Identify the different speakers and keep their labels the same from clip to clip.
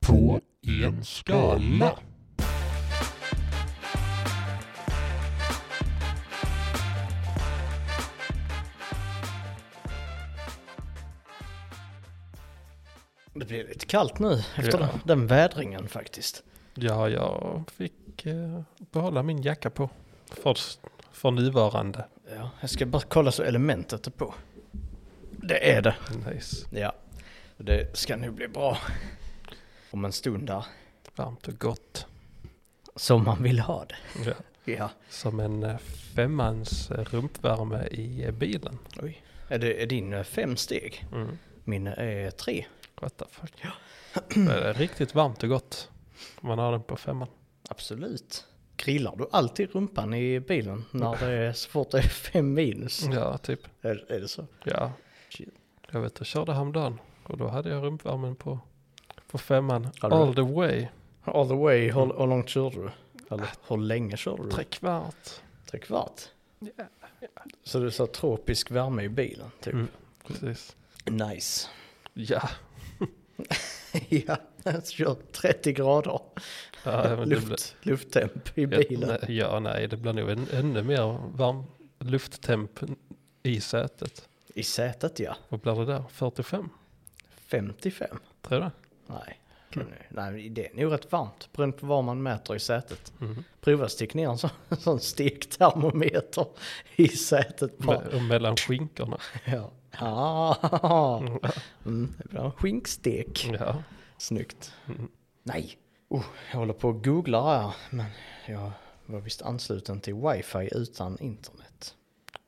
Speaker 1: på en skala.
Speaker 2: Det blir lite kallt nu
Speaker 3: Ja.
Speaker 2: efter den, den vädringen faktiskt.
Speaker 3: Ja, jag fick eh, behålla min jacka på. För, för nuvarande.
Speaker 2: Ja, jag ska bara kolla så elementet är på. Det är det.
Speaker 3: Nice.
Speaker 2: Ja, det ska nu bli bra. Om en stund där.
Speaker 3: Varmt och gott.
Speaker 2: Som man vill ha det.
Speaker 3: Ja.
Speaker 2: Ja.
Speaker 3: Som en eh, femmans eh, rumpvärme i eh, bilen.
Speaker 2: Oj. Är, det, är din eh, fem steg?
Speaker 3: Mm.
Speaker 2: Min är tre.
Speaker 3: What the fuck. Det är riktigt varmt och gott. Man har den på femman.
Speaker 2: Absolut. Grillar du alltid rumpan i bilen när det är så fort det är fem minus?
Speaker 3: Ja, typ.
Speaker 2: Är, är det så?
Speaker 3: Ja.
Speaker 2: Mm. Shit.
Speaker 3: Jag vet, jag körde häromdagen. Och då hade jag rumpvärmen på, på femman.
Speaker 2: Hade du
Speaker 3: All the way.
Speaker 2: All the way, hur, hur långt körde du? Eller hur länge körde du?
Speaker 3: Tre kvart.
Speaker 2: Tre kvart? Så du sa tropisk värme i bilen, typ?
Speaker 3: Mm. Precis.
Speaker 2: Nice.
Speaker 3: Ja.
Speaker 2: ja, jag kör 30 grader
Speaker 3: ja men det blir-
Speaker 2: luft, lufttemp i
Speaker 3: Ja,
Speaker 2: bilen.
Speaker 3: nej, Ja, nej, det blir nog en, ännu mer varm lufttemp i sätet.
Speaker 2: I sätet, ja.
Speaker 3: Vad blir det där? 45?
Speaker 2: 55.
Speaker 3: Tror jag.
Speaker 2: Nej. Nej, det är nog rätt varmt beroende på vad man mäter i sätet.
Speaker 3: Mm.
Speaker 2: Prova stick ner en sån, sån stektermometer i sätet bara.
Speaker 3: Me- och mellan skinkorna.
Speaker 2: Ja. Ah. Mm, det blir en skinkstek.
Speaker 3: Ja.
Speaker 2: Snyggt.
Speaker 3: Mm.
Speaker 2: Nej. Oh, jag håller på och googlar här, men jag var visst ansluten till wifi utan internet.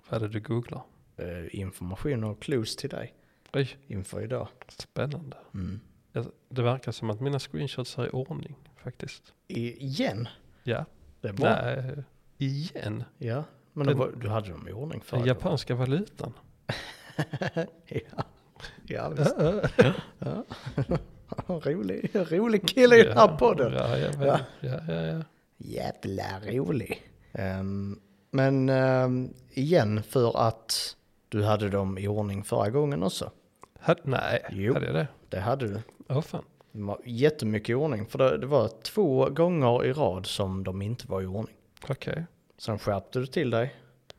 Speaker 3: Vad är det du googlar?
Speaker 2: Eh, information och clues till dig
Speaker 3: Oj,
Speaker 2: inför idag.
Speaker 3: spännande.
Speaker 2: Mm.
Speaker 3: Jag- Det verkar som att mina screenshots är i ordning faktiskt.
Speaker 2: Igen?
Speaker 3: Ja.
Speaker 2: Det är bra.
Speaker 3: Nej, igen.
Speaker 2: Ja, men då
Speaker 3: Den-
Speaker 2: var, du hade dem i ordning för
Speaker 3: Den japanska valutan.
Speaker 2: ja. ja, visst.
Speaker 3: Äh, äh.
Speaker 2: Ja. rolig, rolig kille i den här podden.
Speaker 3: Ja, jag vet.
Speaker 2: Ja.
Speaker 3: ja. ja, ja,
Speaker 2: Jävla rolig. Ehm, men ehm, igen, för att du hade dem i ordning förra gången också.
Speaker 3: Hade- nej,
Speaker 2: Jo.
Speaker 3: hade jag det?
Speaker 2: Det hade du.
Speaker 3: Åh fan.
Speaker 2: De var jättemycket i ordning. För det, det var två gånger i rad som de inte var i ordning.
Speaker 3: Okej.
Speaker 2: Sen skärpte du till dig.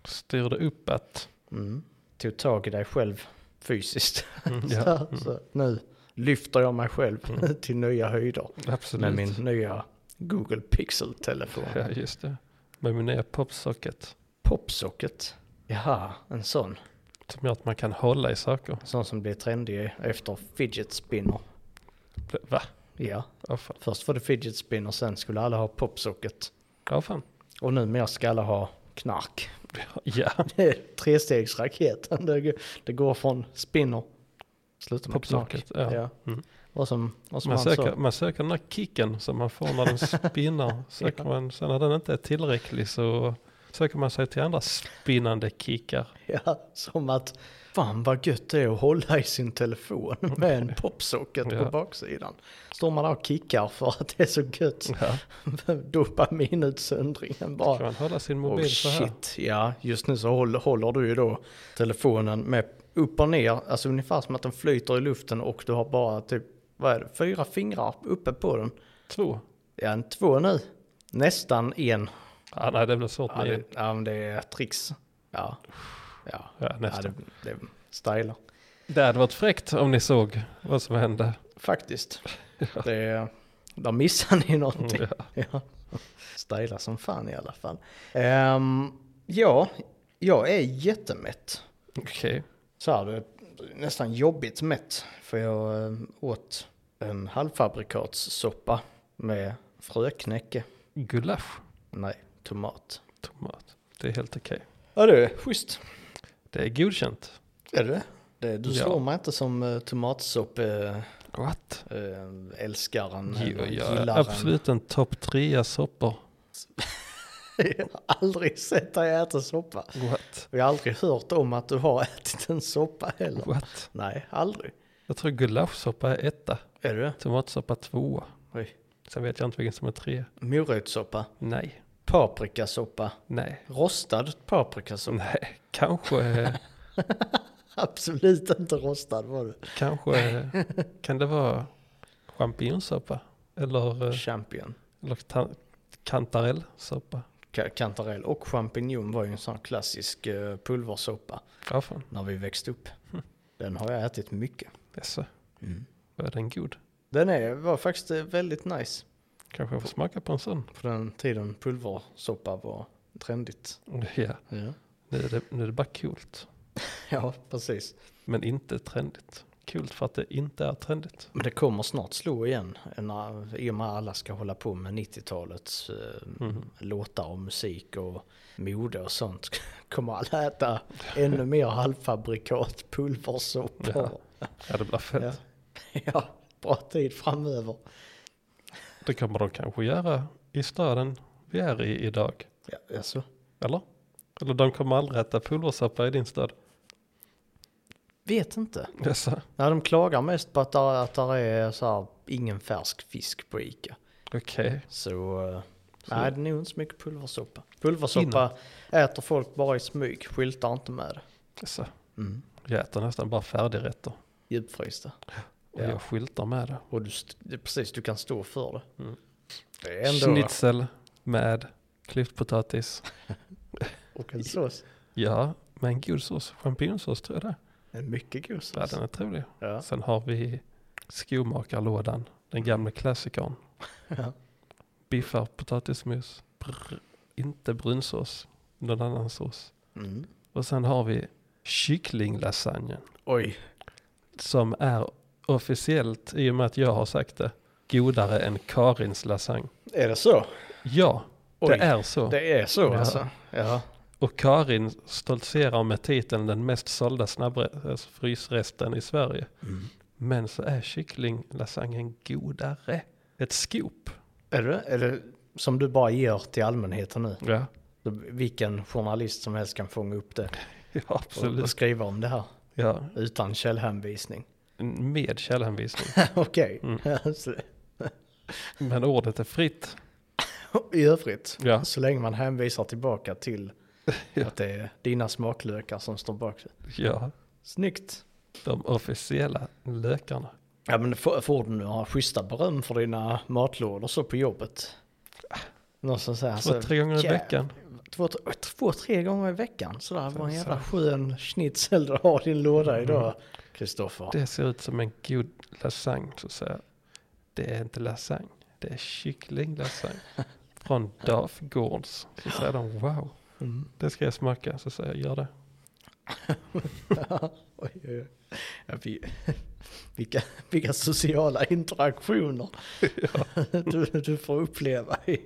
Speaker 3: Styrde upp att...
Speaker 2: Mm. Tog tag i dig själv fysiskt.
Speaker 3: Mm,
Speaker 2: så,
Speaker 3: ja,
Speaker 2: så nu lyfter jag mig själv till nya höjder.
Speaker 3: Mm, absolut.
Speaker 2: Med min nya Google Pixel-telefon.
Speaker 3: Ja, just det. Med min nya popsocket.
Speaker 2: Popsocket. Jaha, en sån.
Speaker 3: Som gör att man kan hålla i saker.
Speaker 2: En sån som blir trendig efter fidget spinner.
Speaker 3: Va?
Speaker 2: Ja,
Speaker 3: Åh fan.
Speaker 2: först var det fidget spinner, sen skulle alla ha popsocket.
Speaker 3: Ja, fan.
Speaker 2: Och numera ska alla ha knark.
Speaker 3: Ja,
Speaker 2: Det är trestegsraketen. Det går, det går från spinner, slutar med knark.
Speaker 3: popsocket. Ja. Mm.
Speaker 2: Vad som, vad som alltså-
Speaker 3: Man,
Speaker 2: han
Speaker 3: söker,
Speaker 2: sa.
Speaker 3: man söker den där kicken som man får när den spinnar. Söker man, sen när den inte är tillräcklig så söker man sig till andra spinnande kickar.
Speaker 2: Ja, som att fan vad gött det är att hålla i sin telefon med en popsocket på
Speaker 3: Ja.
Speaker 2: baksidan. Står man där och kickar för att det är så gött.
Speaker 3: Ja.
Speaker 2: Dopaminutsöndringen
Speaker 3: Kan
Speaker 2: bara.
Speaker 3: man hålla sin mobil
Speaker 2: Oh
Speaker 3: så här?
Speaker 2: shit, ja just nu så håller, håller du ju då telefonen med upp och ner, alltså ungefär som att den flyter i luften och du har bara typ, vad är det, fyra fingrar uppe på den.
Speaker 3: Två?
Speaker 2: Ja, en två nu. Nästan en.
Speaker 3: Ja, nej, det blir svårt
Speaker 2: Ja,
Speaker 3: med
Speaker 2: det,
Speaker 3: det...
Speaker 2: ja men det är tricks. Ja, ja,
Speaker 3: ja,
Speaker 2: ja det,
Speaker 3: nästan.
Speaker 2: det stylar.
Speaker 3: Det hade varit fräckt om ni såg vad som hände.
Speaker 2: Faktiskt. Det, där missar ni någonting.
Speaker 3: Ja.
Speaker 2: Ja. Styla som fan i alla fall. Ehm, ja, jag är jättemätt.
Speaker 3: Okej.
Speaker 2: Så här, det är nästan jobbigt mätt. För jag eh, åt en halvfabrikatssoppa med fröknäcke.
Speaker 3: Gulasch.
Speaker 2: Nej, tomat.
Speaker 3: Tomat. Det är helt okej.
Speaker 2: Ja, det är schysst.
Speaker 3: Det är godkänt.
Speaker 2: Är det det? Du
Speaker 3: Ja.
Speaker 2: slår mig inte som uh, tomatsoppe...
Speaker 3: What?
Speaker 2: eh, älskaren
Speaker 3: Jo,
Speaker 2: eller
Speaker 3: jag är
Speaker 2: eh, gillaren.
Speaker 3: absolut en topp trea soppor.
Speaker 2: Jag har aldrig sett dig äta soppa.
Speaker 3: What?
Speaker 2: Vi har aldrig hört om att du har ätit en soppa heller.
Speaker 3: What?
Speaker 2: Nej, aldrig.
Speaker 3: Jag tror gulaschsoppa är etta,
Speaker 2: Är det?
Speaker 3: tomatsoppa tvåa.
Speaker 2: Oj.
Speaker 3: Sen vet jag inte vilken som är tre.
Speaker 2: Morotssoppa,
Speaker 3: Nej,
Speaker 2: paprikasoppa,
Speaker 3: nej,
Speaker 2: rostad paprikasoppa.
Speaker 3: nej. Kanske,
Speaker 2: Absolut inte rostad var du.
Speaker 3: kanske, kan det vara champinjonsoppa? Eller, eh,
Speaker 2: Champion.
Speaker 3: eller ta- kantarellsoppa.
Speaker 2: Ka- Kantarell och champinjon var ju en sån här klassisk eh, pulversoppa
Speaker 3: Ja fan,
Speaker 2: när vi växte upp. Den har jag ätit mycket. Mm.
Speaker 3: jaså. Var den god?
Speaker 2: Den är, var faktiskt eh, väldigt nice
Speaker 3: Kanske jag får smaka på en sån.
Speaker 2: på den tiden pulversoppa var trendigt.
Speaker 3: Ja,
Speaker 2: Ja,
Speaker 3: nu är det, nu är det bara coolt.
Speaker 2: ja precis.
Speaker 3: Men inte trendigt. Coolt för att det inte är trendigt.
Speaker 2: Men det kommer snart slå igen när, i och med att alla ska hålla på med 90-talets eh,
Speaker 3: Mhm.
Speaker 2: låtar och musik och mode och sånt. Kommer alla äta ännu mer halvfabrikat, pulversoppor.
Speaker 3: Ja det blir fett.
Speaker 2: Ja. ja, bra tid framöver.
Speaker 3: Det kommer de kanske göra i staden vi är i idag.
Speaker 2: Ja, alltså,
Speaker 3: Eller? Eller de kommer aldrig äta pulversoppa i din stad.
Speaker 2: vet inte.
Speaker 3: Jaså?
Speaker 2: Nej, de klagar mest på att där, att där är så här, ingen färsk fisk på Ica.
Speaker 3: Okej.
Speaker 2: Så, eh,
Speaker 3: Så-
Speaker 2: nej det är nog inte så mycket pulversoppa. Pulversoppa äter folk bara i smyg, skyltar inte med det.
Speaker 3: Jaså?
Speaker 2: Mm.
Speaker 3: Jag äter nästan bara färdigrätter.
Speaker 2: Djupfrysta.
Speaker 3: Och
Speaker 2: Ja.
Speaker 3: jag skyltar med det.
Speaker 2: Och du, st- det- precis, du kan stå för det.
Speaker 3: Mm.
Speaker 2: Det är ändå...
Speaker 3: Schnitzel med klyftpotatis.
Speaker 2: Och en sås.
Speaker 3: Ja, med en god sås. Champinjonsås tror jag det är.
Speaker 2: En mycket god
Speaker 3: Ja,
Speaker 2: sås.
Speaker 3: den är trevlig.
Speaker 2: Ja.
Speaker 3: Sen har vi skomakarlådan, den gamla klassikern.
Speaker 2: Ja.
Speaker 3: Biffar, potatismos, brr, inte brunsås, någon annan sås.
Speaker 2: Mm.
Speaker 3: Och sen har vi kycklinglasagnen
Speaker 2: Oj,
Speaker 3: som är officiellt, i och med att jag har sagt det, godare än Karins lasagne.
Speaker 2: är det så?
Speaker 3: Ja,
Speaker 2: Oj,
Speaker 3: det är så.
Speaker 2: Det är så
Speaker 3: Ja.
Speaker 2: alltså? Ja.
Speaker 3: Och Karin stoltserar med titeln den mest sålda snabbfrysresten frysresten i Sverige. Men så är kycklinglasagnen godare. Ett scoop.
Speaker 2: Är, det, är det som du bara ger till allmänheten nu?
Speaker 3: Ja,
Speaker 2: Så Vilken journalist som helst kan fånga upp det
Speaker 3: ja
Speaker 2: och, och
Speaker 3: absolut.
Speaker 2: skriva om det här
Speaker 3: Ja,
Speaker 2: utan källhänvisning.
Speaker 3: med källhänvisning.
Speaker 2: Okej,
Speaker 3: Mm.
Speaker 2: Så-
Speaker 3: Men ordet är fritt.
Speaker 2: i övrigt.
Speaker 3: Ja.
Speaker 2: Så länge man hänvisar tillbaka till
Speaker 3: Ja.
Speaker 2: att det är dina smaklökar som står bak.
Speaker 3: Ja,
Speaker 2: Snyggt!
Speaker 3: de officiella lökarna.
Speaker 2: Ja men får, får du några schyssta beröm för dina matlådor så på jobbet? Någon som säger
Speaker 3: Två, tre gånger i
Speaker 2: Alltså, jävlar.
Speaker 3: veckan.
Speaker 2: två, tre- två, tre gånger i veckan. Så där var en
Speaker 3: Så- Mm.
Speaker 2: jävla skön schnitzel du har i din låda idag, Kristoffer.
Speaker 3: Det ser ut som en god lasagne, så säger jag. Det är inte lasagne, det är kycklinglasagne. Från Daf Gårds. Så säger de wow.
Speaker 2: Mm.
Speaker 3: Det ska jag smaka, så säger jag gör det.
Speaker 2: Oj, oj, oj. Ja, vi, vilka, vilka sociala interaktioner du, du får uppleva. I.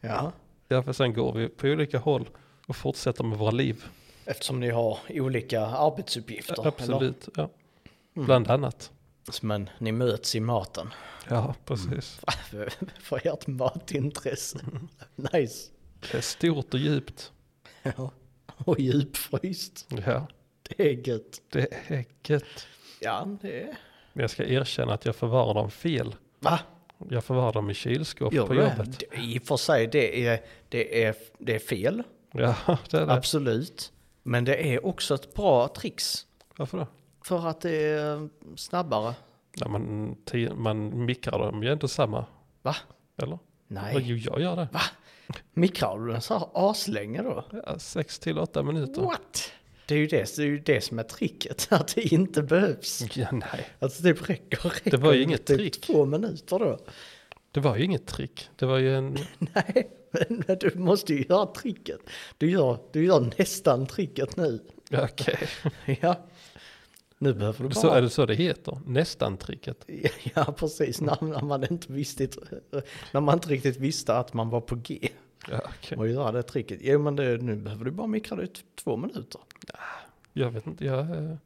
Speaker 2: Ja,
Speaker 3: Ja, för sen går vi på olika håll och fortsätter med våra liv.
Speaker 2: eftersom ni har olika arbetsuppgifter. eller?
Speaker 3: Absolut, ja. Bland annat. Mm.
Speaker 2: Men ni möts i maten.
Speaker 3: Ja, precis.
Speaker 2: För, för ert matintresse. Nice.
Speaker 3: Det är stort och djupt.
Speaker 2: Ja. Och djupfryst.
Speaker 3: Ja,
Speaker 2: Det är gött.
Speaker 3: det är gött.
Speaker 2: Ja, det är...
Speaker 3: Men jag ska erkänna att jag förvarar dem fel.
Speaker 2: Va?
Speaker 3: Jag förvarar dem i kylskåp
Speaker 2: Gör
Speaker 3: på
Speaker 2: du det?
Speaker 3: jobbet.
Speaker 2: Det- I och för sig, det är, det är, det är fel.
Speaker 3: Ja, det är det.
Speaker 2: Absolut. Men det är också ett bra trix.
Speaker 3: Varför då?
Speaker 2: För att det är eh, snabbare.
Speaker 3: Ja, man, ti- man mikrar dem ju inte samma,
Speaker 2: Va?
Speaker 3: eller? Eller,
Speaker 2: Nej.
Speaker 3: Jo, jag gör det.
Speaker 2: Mikrar du den så här aslänge då?
Speaker 3: Ja, sex till åtta minuter.
Speaker 2: What? Det är ju det, det, är ju det som är tricket. Att det inte behövs.
Speaker 3: Ja, nej.
Speaker 2: Alltså det räcker, räcker
Speaker 3: Det var ju
Speaker 2: med
Speaker 3: inget
Speaker 2: typ
Speaker 3: trick.
Speaker 2: två minuter då.
Speaker 3: Det var ju inget trick. Det var ju en
Speaker 2: Nej, men men du måste ju göra tricket. Du gör, du gör nästan tricket nu.
Speaker 3: Ja, Okej,
Speaker 2: Ja. Nu behöver du bara...
Speaker 3: så är det så det heter? Nästan tricket.
Speaker 2: Ja, precis. När, när, man inte visste, när man inte riktigt visste att man var på G.
Speaker 3: Ja, okej.
Speaker 2: Och göra det tricket. Jo, men det, nu behöver du bara mikra det i t- två minuter.
Speaker 3: Jag vet inte, jag är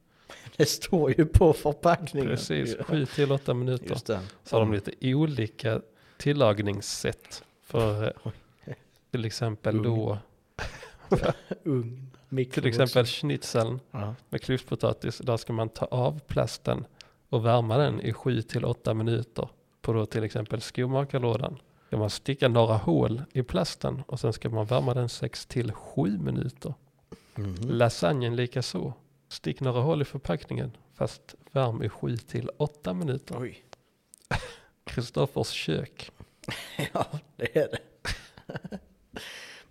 Speaker 2: Det står ju på förpackningen.
Speaker 3: precis 7 till 8 minuter.
Speaker 2: Just det.
Speaker 3: Så har de lite olika tillagningssätt för eh, till exempel då,
Speaker 2: Ugn, mikro.
Speaker 3: till exempel schnitzeln
Speaker 2: Ja.
Speaker 3: med klyftpotatis. Där ska man ta av plasten och värma den i 7 till 8 minuter på då till exempel skomakarlådan. Ska man sticka några hål i plasten och sen ska man värma den 6 till 7 minuter.
Speaker 2: Mhm.
Speaker 3: Mm. Lasagnen lika så. Stick några hål i förpackningen fast värm i 7 till 8 minuter.
Speaker 2: Oj.
Speaker 3: Kristoffers kök.
Speaker 2: ja, det är det.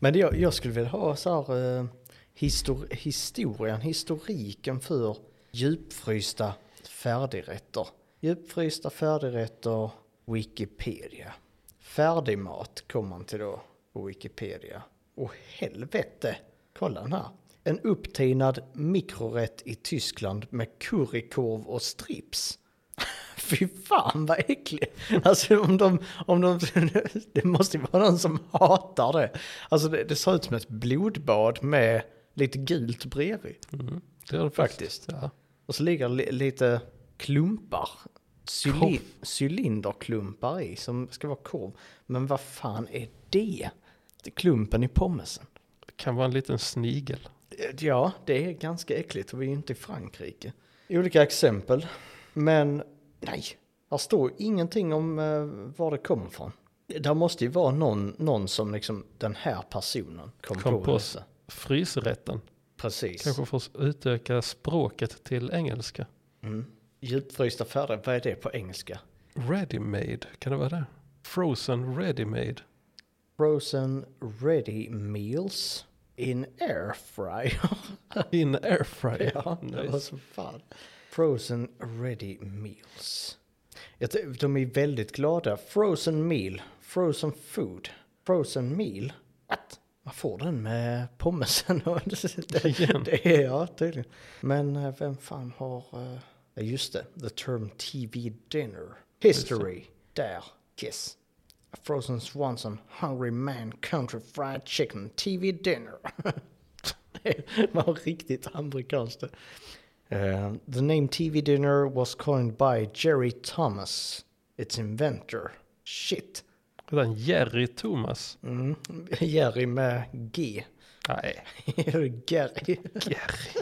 Speaker 2: Men det, jag, jag skulle vilja ha så här eh, histor, historien, historiken för djupfrysta färdigrätter. Djupfrysta färdigrätter, Wikipedia. Färdigmat kommer man till då på Wikipedia. Och helvete, kolla den här. En upptinad mikrorätt i Tyskland med currykorv och strips. Fy fan vad äckligt. Alltså om de, om de, det måste ju vara någon som hatar det. Alltså det, det ser ut som ett blodbad med lite gult bredvid.
Speaker 3: Mm. Det är det
Speaker 2: Faktiskt.
Speaker 3: Ja.
Speaker 2: Och så ligger li, lite klumpar. Cyli,
Speaker 3: Korv.
Speaker 2: cylinderklumpar i som ska vara korv. Men vad fan är det? det är klumpen i pommesen.
Speaker 3: Det kan vara en liten snigel.
Speaker 2: Ja, det är ganska äckligt och vi är ju inte i Frankrike. Olika exempel, men nej, här står ingenting om eh, var det kommer ifrån. Där måste ju vara någon, någon som liksom den här personen kom,
Speaker 3: Kom
Speaker 2: på
Speaker 3: på
Speaker 2: detta.
Speaker 3: Frysrätten.
Speaker 2: Precis.
Speaker 3: Kanske får utöka språket till engelska.
Speaker 2: Mm. Djupfrysta färger, vad är det på engelska?
Speaker 3: Ready made, kan det vara det? Frozen ready made.
Speaker 2: Frozen ready meals in air fryer.
Speaker 3: In air fryer.
Speaker 2: ja, det var
Speaker 3: Nice.
Speaker 2: så fan. Frozen ready meals. Jag tror- De är väldigt glada. Frozen meal, frozen food, frozen meal. What? Man får den med pommesen. och det,
Speaker 3: Igen.
Speaker 2: det är ja, tydligen. Men eh, vem fan har... eh, Ja, just det. The term TV dinner. History. Där. Kiss. Frozen Swanson, Hungry Man, Country Fried Chicken, TV Dinner. Man har riktigt amerikanskt. det. Eh, the name TV Dinner was coined by Jerry Thomas, its inventor. Shit.
Speaker 3: Redan Jerry Thomas.
Speaker 2: Mm. Jerry med G.
Speaker 3: Nej,
Speaker 2: Gary.
Speaker 3: Jerry.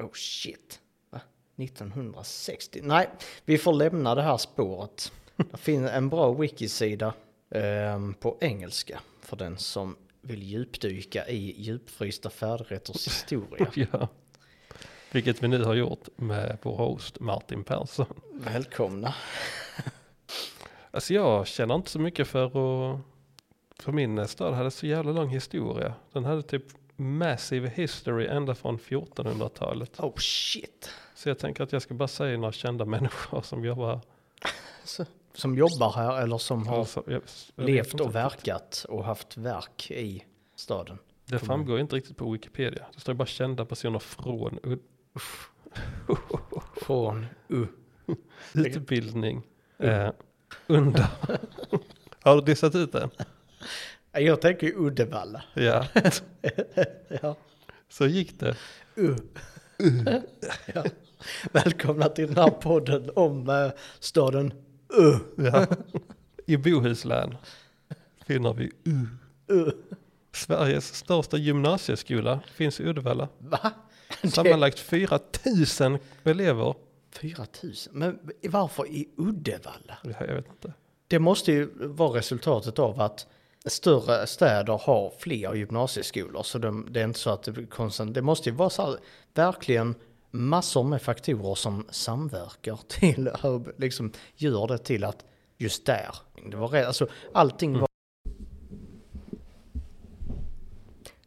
Speaker 2: Oh shit. Va? 1960? Nej, vi får lämna det här spåret. Det finns en bra wikisida ehm, på engelska för den som vill djupdyka i djupfrysta färdigrätters historia.
Speaker 3: ja. Vilket vi nu har gjort med vår host Martin Persson.
Speaker 2: Välkomna.
Speaker 3: Alltså jag känner inte så mycket för att... För min eh, stad hade så jävla lång historia. Den hade typ massive history ända från 1400-talet.
Speaker 2: Oh shit.
Speaker 3: Så jag tänker att jag ska bara säga några kända människor som jobbar.
Speaker 2: Så, som jobbar här eller som har
Speaker 3: Alltså, jag, jag vet
Speaker 2: levt
Speaker 3: inte.
Speaker 2: och verkat och haft verk i staden.
Speaker 3: Det framgår ju inte riktigt på Wikipedia. Det står ju bara kända personer från ut-
Speaker 2: Från U.
Speaker 3: utbildning. Eh, under. Har du dissat ut den?
Speaker 2: Jag tänker ju Uddevalla.
Speaker 3: Ja.
Speaker 2: Ja.
Speaker 3: Så gick det.
Speaker 2: Uh. ja. Välkomna till den här podden om eh, staden Uh.
Speaker 3: Ja. I Bohuslän finner vi U.
Speaker 2: Uh.
Speaker 3: Sveriges största gymnasieskola finns i Uddevalla.
Speaker 2: Va?
Speaker 3: Sammanlagt 4000 elever.
Speaker 2: 4 000? Men varför i Uddevalla?
Speaker 3: Ja, Jag vet inte.
Speaker 2: Det måste ju vara resultatet av att större städer har fler gymnasieskolor. Så de, det är inte så att det blir konstant. Det måste ju vara så här, verkligen massor med faktorer som samverkar till, liksom gör det till att just där. Det var rätt, alltså allting var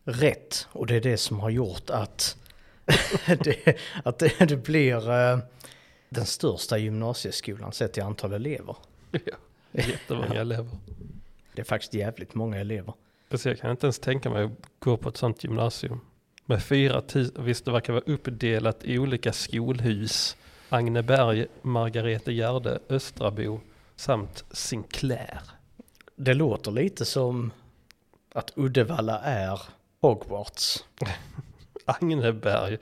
Speaker 2: rätt. Och det är det som har gjort att det, att det, det blir eh, den största gymnasieskolan sett i antal elever.
Speaker 3: Ja. Jättemånga elever.
Speaker 2: Det är faktiskt jävligt många elever.
Speaker 3: Precis, jag kan inte ens tänka mig att gå på ett sånt gymnasium. Med fyra tusen, visst det verkar vara uppdelat i olika skolhus. Agneberg, Margarete Gärde, Östrabo samt Sinclair.
Speaker 2: Det låter lite som att Uddevalla är Hogwarts.
Speaker 3: Agneberg,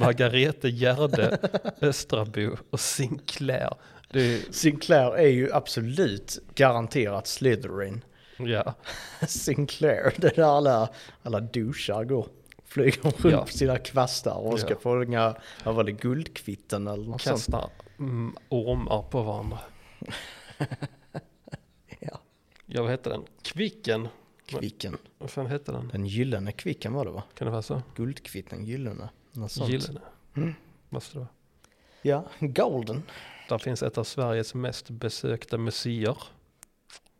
Speaker 3: Margarete Gärde, Östrabo och Sinclair. Det är,
Speaker 2: Sinclair är ju absolut garanterat Slytherin.
Speaker 3: ja,
Speaker 2: Sinclair, det är där alla, alla douchar går. Flyger runt
Speaker 3: Ja.
Speaker 2: på sina kvastar och ska
Speaker 3: Ja.
Speaker 2: få inga, vad var det, guldkvitten eller något sånt.
Speaker 3: kastar mm, ormar på varandra.
Speaker 2: Ja.
Speaker 3: Ja, vad hette den? Kvicken.
Speaker 2: Kvicken.
Speaker 3: Vad fan hette den?
Speaker 2: Den gyllene kvicken var det va?
Speaker 3: Kan det vara så?
Speaker 2: Guldkvitten, gyllene. Något sånt. Mm.
Speaker 3: Gyllene. Måste det vara.
Speaker 2: Ja, golden.
Speaker 3: Där finns ett av Sveriges mest besökta museer.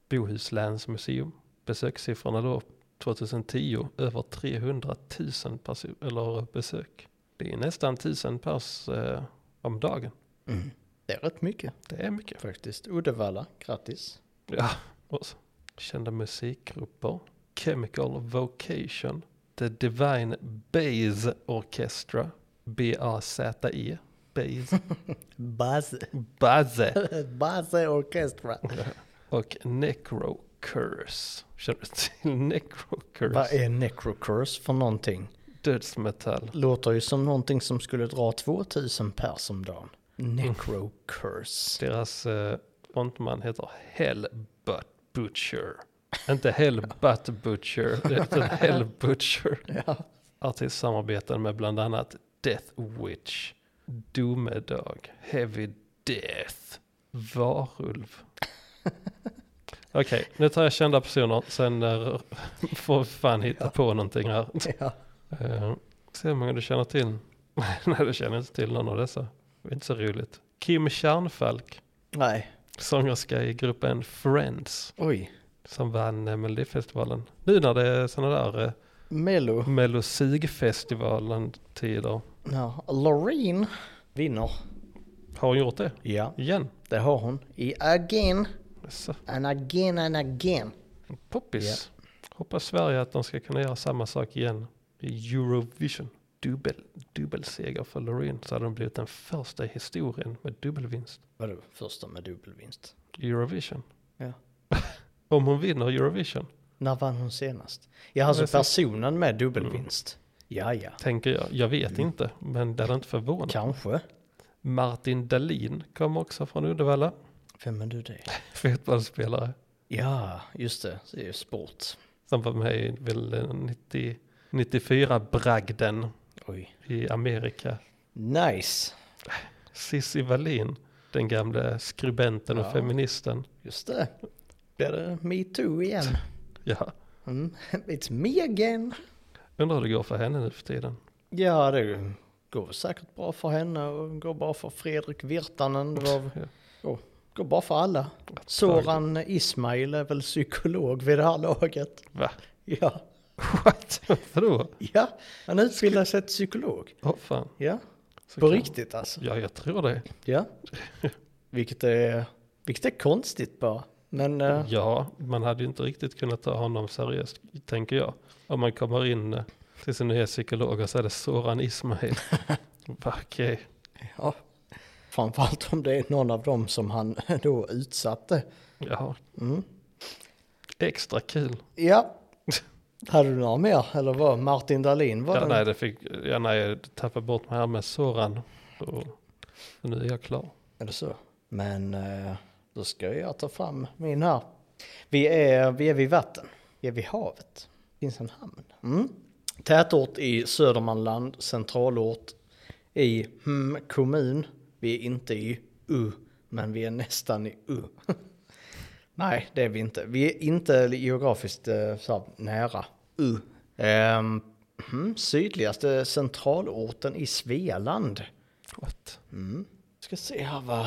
Speaker 3: Bohus läns museum. Besökssiffrorna då 2010 över 300 000 perso- eller besök. Det är nästan 1000 pers eh, om dagen.
Speaker 2: Mm. Det är rätt mycket
Speaker 3: Det är mycket.
Speaker 2: faktiskt. Uddevalla, grattis.
Speaker 3: Ja, och så. kända musikgrupper. Chemical Vocation. The Divine Bass Orchestra. B-A-Z-E. E, Bass.
Speaker 2: Baz,
Speaker 3: Baze.
Speaker 2: Baze Orchestra.
Speaker 3: Och Necrocurse. Känner du till
Speaker 2: Vad
Speaker 3: Necrocurse?
Speaker 2: är necrocurse för någonting?
Speaker 3: Dödsmetall.
Speaker 2: Låter ju som någonting som skulle dra 2000 pers om dagen. Necrocurse.
Speaker 3: Deras eh, frontman heter Hellbutt Butcher. Inte Hellbutt Butcher, utan Hell Butcher.
Speaker 2: Ja.
Speaker 3: Artist samarbeten med bland annat Death Witch, Domedag, Heavy Death, Varulv. Okej, nu tar jag kända personer, sen eh, får vi fan hitta på någonting här.
Speaker 2: ja.
Speaker 3: Uh, se hur många du känner till. Nej, du känner inte till någon av dessa. Det är inte så roligt. Kim Kärnfalk,
Speaker 2: Nej,
Speaker 3: sångerska i gruppen Friends,
Speaker 2: oj.
Speaker 3: som vann eh, Melodifestivalen. Nu när det är sådana där eh,
Speaker 2: Mello.
Speaker 3: Melosigfestivalen-tider.
Speaker 2: Ja. Loreen vinner.
Speaker 3: Har hon gjort det?
Speaker 2: Ja,
Speaker 3: Igen?
Speaker 2: det har hon. I again,
Speaker 3: Så,
Speaker 2: and again, and again.
Speaker 3: poppis. Hoppas Sverige att de ska kunna göra samma sak igen i Eurovision. Dubbel, dubbelseger för Loreen så hade de blivit den första i historien med dubbelvinst.
Speaker 2: Vadå, första med dubbelvinst?
Speaker 3: Eurovision.
Speaker 2: Ja.
Speaker 3: Om hon vinner Eurovision,
Speaker 2: När vann hon senast? Ja, alltså
Speaker 3: precis.
Speaker 2: personen med dubbelvinst. Ja, ja.
Speaker 3: tänker jag. Jag vet
Speaker 2: Mm.
Speaker 3: inte, men det är inte förvånat.
Speaker 2: Kanske.
Speaker 3: Martin Dahlin kom också från Uddevalla.
Speaker 2: Vem är du det?
Speaker 3: Fotbollsspelare.
Speaker 2: Ja, just det. Det är ju sport.
Speaker 3: Som var med i väl 90, 94 bragden
Speaker 2: Oj.
Speaker 3: i Amerika.
Speaker 2: Nice.
Speaker 3: Cissi Wallin, den gamla skribenten och
Speaker 2: Ja.
Speaker 3: feministen.
Speaker 2: Just det. Blir det metoo igen?
Speaker 3: Ja,
Speaker 2: Mm. It's me again.
Speaker 3: undrar hur det går för henne nu för tiden.
Speaker 2: Ja, det går säkert bra för henne och går bra för Fredrik Virtanen. Det var,
Speaker 3: Ja.
Speaker 2: oh, går bra för alla. Soran Ismail är väl psykolog vid det här laget.
Speaker 3: Va?
Speaker 2: Ja,
Speaker 3: What? Vadå?
Speaker 2: ja. han utbildar sig till psykolog.
Speaker 3: Åh fan.
Speaker 2: Ja,
Speaker 3: Så
Speaker 2: på
Speaker 3: kan-
Speaker 2: riktigt alltså.
Speaker 3: Ja, jag tror det.
Speaker 2: Ja, vilket är, vilket är konstigt bara. Men eh,
Speaker 3: Ja, man hade ju inte riktigt kunnat ta honom seriöst, tänker jag. Om man kommer in eh, till sin nya psykolog och så är det Soran Ismail. eh, Va, Okej,
Speaker 2: ja, framförallt om det är någon av dem som han då utsatte.
Speaker 3: ja.
Speaker 2: Mm.
Speaker 3: Extra kul.
Speaker 2: Ja, hade du några mer? Eller vad? Martin Dahlin var
Speaker 3: Ja,
Speaker 2: den?
Speaker 3: nej, det fick, ja, nej, jag tappade bort mig här med Soran. Och, och nu är jag klar.
Speaker 2: Är det så? Men eh, då ska jag ta fram min här. Vi är, vi är vid vatten. Vi är vid havet. Finns en hamn. Mm. Tätort i Södermanland, centralort i hmm, kommun. Vi är inte i U, men vi är nästan i U. Nej, det är vi inte. Vi är inte geografiskt eh, så här, nära U. Ehm, hmm, sydligaste centralorten i Svealand.
Speaker 3: What?
Speaker 2: Mm. Ska se här vad,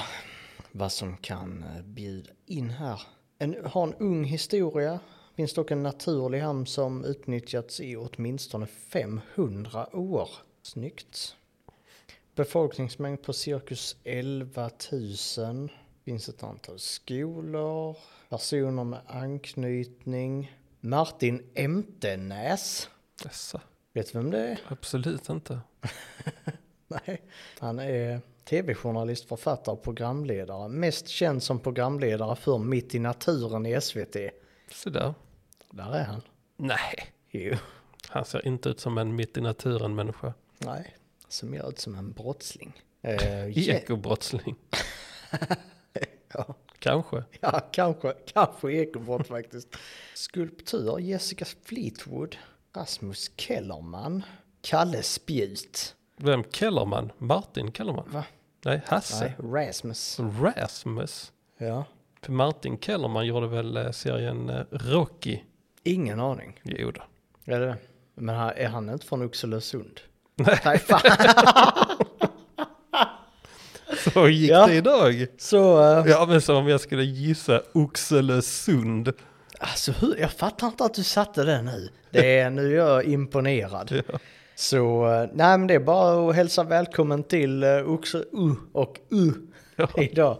Speaker 2: vad som kan eh, bjuda in här. En, har en ung historia. Finns dock en naturlig hamn som utnyttjats i åtminstone 500 år. Snyggt. Befolkningsmängd på cirkus 11 000. Finns ett antal skolor. Personer med anknytning. Martin Emtenäs.
Speaker 3: Dessa.
Speaker 2: Vet du vem det är?
Speaker 3: Absolut inte.
Speaker 2: Nej, han är tv-journalist, författare och programledare. Mest känd som programledare för Mitt i naturen i SVT.
Speaker 3: Så där.
Speaker 2: Där är han.
Speaker 3: Nej.
Speaker 2: Jo.
Speaker 3: Han ser inte ut som en mitt i naturen människa.
Speaker 2: Nej, som gör ut som en brottsling. Eh, ja,
Speaker 3: Ekobrottsling.
Speaker 2: ja,
Speaker 3: Kanske.
Speaker 2: ja, kanske, kanske ekobrott faktiskt. Skulptör Jessica Fleetwood, Rasmus Kellerman, Kalle Spjut.
Speaker 3: Vem? Kellerman? Martin Kellerman?
Speaker 2: Va?
Speaker 3: Nej, Hasse.
Speaker 2: Nej, Rasmus.
Speaker 3: Rasmus.
Speaker 2: Ja,
Speaker 3: För Martin Kellerman gjorde väl eh, serien eh, Rocky?
Speaker 2: ingen aning.
Speaker 3: Jo då.
Speaker 2: Är det? Men han- är han inte från Oxelösund?
Speaker 3: Nej.
Speaker 2: Nej, fan.
Speaker 3: Så gick
Speaker 2: Ja.
Speaker 3: det idag.
Speaker 2: Så, eh,
Speaker 3: Ja, men som om jag skulle gissa Oxelösund.
Speaker 2: alltså hur, jag fattar inte att du satte det nu. Det är, nu är jag imponerad. Så, eh, nej men det är bara att hälsa välkommen till uh, Oxer U och U
Speaker 3: Ja.
Speaker 2: idag.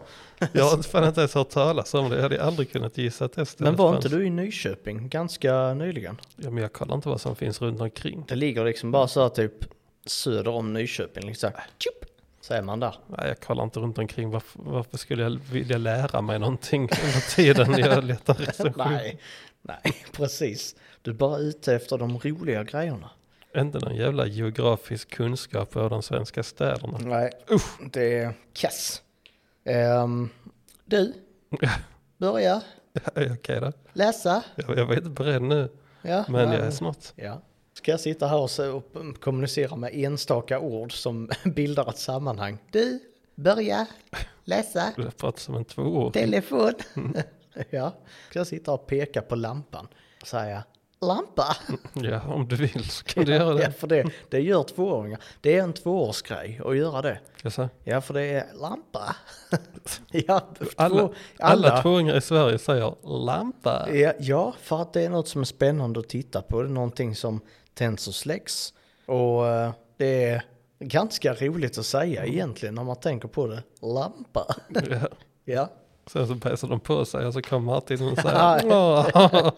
Speaker 3: Jag har fan inte ens hört talas om det. Jag hade aldrig kunnat gissa testet.
Speaker 2: Men var inte du i Nyköping ganska nyligen?
Speaker 3: Ja, men jag kollar inte vad som finns runt omkring.
Speaker 2: Det ligger liksom bara så här typ söder om Nyköping liksom. Tjup, så är man där.
Speaker 3: Nej, jag kollar inte runt omkring. Varför, varför skulle jag vilja lära mig någonting under tiden jag letar recension?
Speaker 2: Nej, nej precis. Du är bara ute efter de roliga grejerna.
Speaker 3: Inte någon jävla geografisk kunskap över de svenska städerna.
Speaker 2: Nej, usch. Det är kass. Ehm, du, börja
Speaker 3: Ja, Okej då.
Speaker 2: läsa.
Speaker 3: Jag, jag var inte beredd nu,
Speaker 2: Ja,
Speaker 3: men
Speaker 2: nej.
Speaker 3: jag är snart.
Speaker 2: Ja. Ska jag sitta här och, se och kommunicera med enstaka ord som bildar ett sammanhang? Du, börja läsa.
Speaker 3: Jag pratar som en tvååring.
Speaker 2: Telefon. ja. Ska jag sitta och peka på lampan och säga lampa?
Speaker 3: Ja, om du vill så kan du göra
Speaker 2: Ja,
Speaker 3: det.
Speaker 2: för det, det gör tvååringar. Det är en tvåårsgrej att göra det.
Speaker 3: Jaså?
Speaker 2: Ja, för det är lampa. ja, två,
Speaker 3: Alla, alla tvååringar i Sverige säger lampa.
Speaker 2: Ja, ja, för att det är något som är spännande att titta på. Det är någonting som tänds och släcks. Och eh, det är ganska roligt att säga egentligen när man tänker på det. Lampa.
Speaker 3: Ja.
Speaker 2: ja.
Speaker 3: Sen så bäser de på sig och så kommer Martin och
Speaker 2: Ja.
Speaker 3: säger Åh,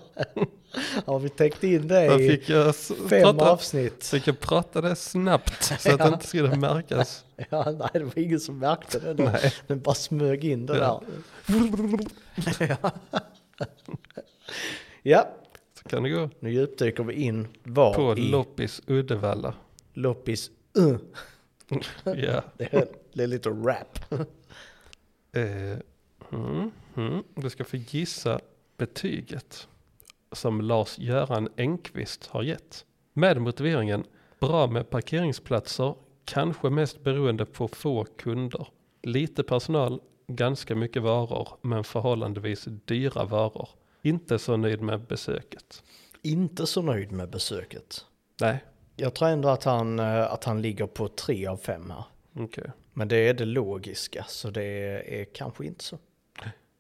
Speaker 2: Har vi täckt in det
Speaker 3: där
Speaker 2: i
Speaker 3: fick jag s-
Speaker 2: fem
Speaker 3: prata,
Speaker 2: avsnitt?
Speaker 3: fick jag prata det snabbt så att det inte skulle märkas.
Speaker 2: Ja, nej, det var ingen som märkte det då.
Speaker 3: Nej.
Speaker 2: Den bara smög in det där.
Speaker 3: Ja.
Speaker 2: Ja,
Speaker 3: Så kan det gå.
Speaker 2: nu djupdyker vi in var
Speaker 3: På
Speaker 2: i
Speaker 3: loppis Uddevalla.
Speaker 2: loppis. Uh.
Speaker 3: Ja.
Speaker 2: Det är- det är lite rap.
Speaker 3: Eh, mm, mm. Du ska få gissa betyget som Lars-Göran Engqvist har gett. Med motiveringen bra med parkeringsplatser, kanske mest beroende på få kunder. Lite personal, ganska mycket varor, men förhållandevis dyra varor. Inte så nöjd med besöket.
Speaker 2: Inte så nöjd med besöket.
Speaker 3: Nej,
Speaker 2: Jag tror ändå att han, eh, att han ligger på tre av fem här.
Speaker 3: okej.
Speaker 2: Men det är det logiska, så det är kanske inte så.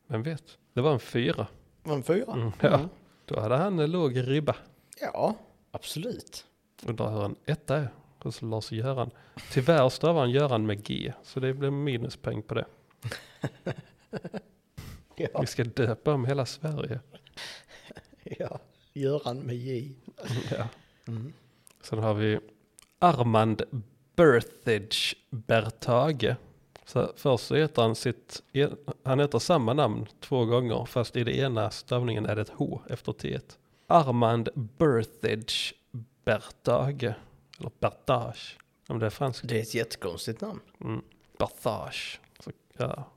Speaker 3: Vem vet? Det var en fyra.
Speaker 2: Men fyra?
Speaker 3: Mm, ja. Då hade han en låg ribba.
Speaker 2: Ja, absolut.
Speaker 3: Undrar hur en etta är hos Lars-Göran. Tyvärr stavar han Göran med G, så det blir minuspoäng på det.
Speaker 2: Ja,
Speaker 3: Vi ska döpa om hela Sverige.
Speaker 2: ja. Göran med J.
Speaker 3: Ja.
Speaker 2: Mm.
Speaker 3: Sen har vi Armand Berthage Bertage. Så först så heter han sitt, han heter samma namn två gånger, fast i det ena stavningen är det ett H efter T. Armand Berthage Bertage, eller Bertage, om det är franskt.
Speaker 2: Det är ett jättekonstigt namn.
Speaker 3: Mm. Berthage. Så, ja.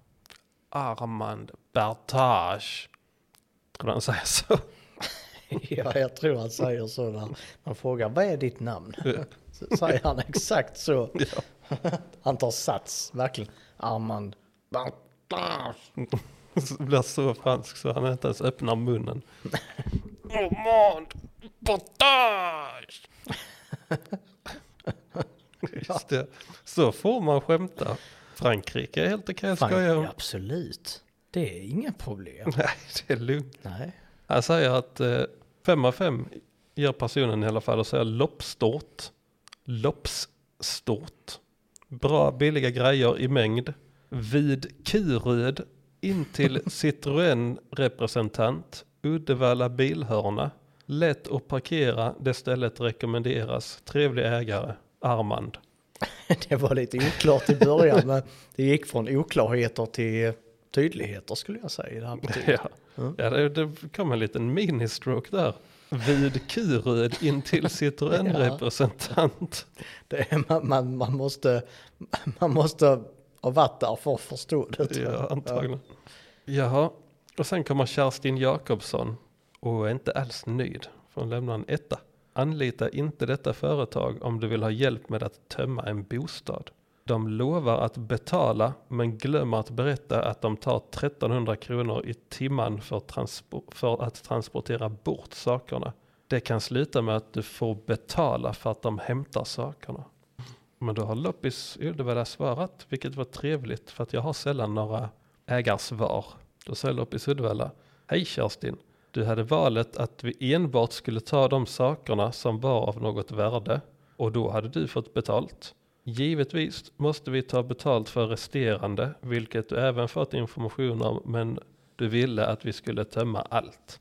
Speaker 3: Armand Berthage. Tror du han säger så?
Speaker 2: Ja, jag tror han säger så när man frågar vad är ditt namn? Så säger han exakt så. Han tar sats, verkligen. Armand.
Speaker 3: Så blir så fransk så han inte ens öppnar munnen. Armand Berthage. Just det. Så får man skämta. Frankrike är helt okej att skoja om.
Speaker 2: Ja, absolut. Det är inga problem.
Speaker 3: Nej, det är lugnt.
Speaker 2: Nej.
Speaker 3: Han säger att 5 av 5 ger personen i alla fall och säger loppstort. Loppsstort. Bra billiga grejer i mängd. Vid Kuröd in till Citroën representant. Uddevalla bilhörna. Lätt att parkera, det stället rekommenderas. Trevlig ägare, Armand.
Speaker 2: Det var lite oklart i början, men det gick från oklarheter till tydligheter skulle jag säga. i Det här betyget.
Speaker 3: Ja, ja det, det kom en liten ministroke där. Vid Kuröd in till Citroën representant.
Speaker 2: det är, man, man, man, måste, man måste ha varit där för att förstå det. tror jag.
Speaker 3: Ja, antagligen. Jaha, och sen kommer Kerstin Jakobsson och är inte alls nöjd. För hon lämnar en etta. Anlita inte detta företag om du vill ha hjälp med att tömma en bostad. De lovar att betala men glömmer att berätta att de tar 1300 kronor i timmen för, transpo- för att transportera bort sakerna. Det kan sluta med att du får betala för att de hämtar sakerna. Men då har loppis i Uddevalla svarat, vilket var trevligt för att jag har sällan några ägarsvar. Då sa loppis i Uddevalla, hej Kerstin, du hade valet att vi enbart skulle ta de sakerna som var av något värde och då hade du fått betalt. Givetvis måste vi ta betalt för resterande, vilket du även fått information om, men du ville att vi skulle tömma allt.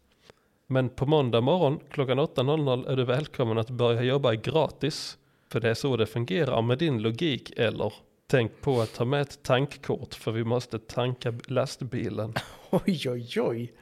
Speaker 3: Men på måndag morgon klockan 8.00 är du välkommen att börja jobba gratis. För det är så det fungerar med din logik eller tänk på att ta med ett tankkort för vi måste tanka lastbilen.
Speaker 2: Oj, oj, oj.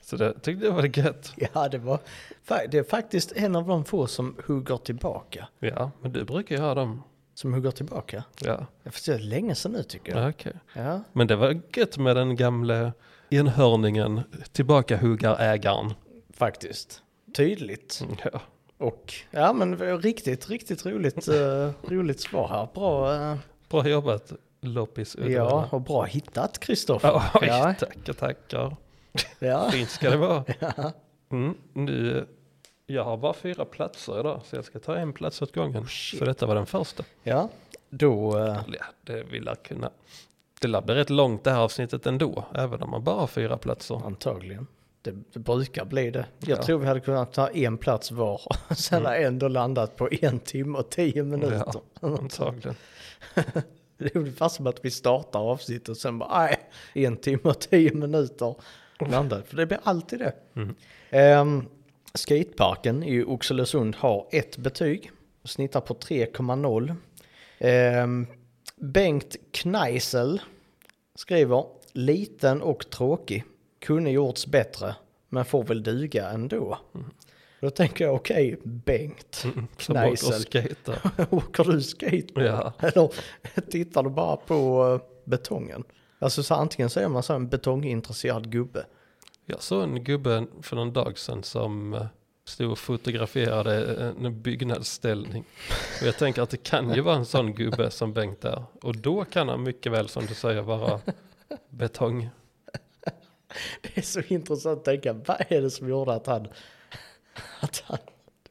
Speaker 3: Så det tyckte jag var gött.
Speaker 2: Ja, det var... fa- Det är faktiskt en av de få som hugger tillbaka.
Speaker 3: Ja, men du brukar ju ha dem.
Speaker 2: Som hugger tillbaka.
Speaker 3: Ja,
Speaker 2: Jag förstår, det är länge sedan nu tycker jag.
Speaker 3: ja okej.
Speaker 2: Ja.
Speaker 3: Men det var gött med den gamle enhörningen, tillbakahuggarägaren.
Speaker 2: Faktiskt. Tydligt.
Speaker 3: Ja.
Speaker 2: Och ja men det var riktigt, riktigt roligt, eh, roligt svar här. Bra, eh,
Speaker 3: Bra jobbat, loppis
Speaker 2: ja
Speaker 3: Uddevalla.
Speaker 2: och bra hittat Kristoffer.
Speaker 3: Ja. Oj,
Speaker 2: ja,
Speaker 3: tackar, tackar.
Speaker 2: ja.
Speaker 3: Fint ska det vara. Mm, nu, jag har bara fyra platser idag, så jag ska ta en plats åt gången.
Speaker 2: Oh, shit.
Speaker 3: så detta var den första.
Speaker 2: ja. Då, eh,
Speaker 3: Ja, det vill jag kunna. Det lär bli rätt långt det här avsnittet ändå, även om man bara har fyra platser.
Speaker 2: antagligen. Det, det brukar bli det. Jag
Speaker 3: Ja. Mm.
Speaker 2: tror vi hade kunnat ta en plats var. Sen har ändå landat på en timme och tio minuter.
Speaker 3: Ja, antagligen.
Speaker 2: Det är ungefär som att vi startar avsnittet och sen bara, nej, en timme och tio minuter landar. För det blir alltid det.
Speaker 3: Mm.
Speaker 2: Ehm, skateparken i Oxelösund har ett betyg och snittar på 3,0. Ehm, Bengt Kneisel skriver, liten och tråkig, kunde gjorts bättre, men får väl duga ändå. Då tänker jag, okej, Bengt,
Speaker 3: Mm, Som åker och
Speaker 2: Kneisel.
Speaker 3: skejtar.
Speaker 2: åker du skate?
Speaker 3: Ja.
Speaker 2: Eller tittar du bara på eh, betongen? Alltså så antingen så är man så en betongintresserad gubbe.
Speaker 3: Jag såg en gubbe för någon dag sedan som eh, stod och fotograferade eh, en byggnadsställning. Och jag tänker att det kan ju vara en sån gubbe som Bengt där. Och då kan han mycket väl som du säger vara betong.
Speaker 2: Det är så intressant att tänka, vad är det som gjorde att han, att han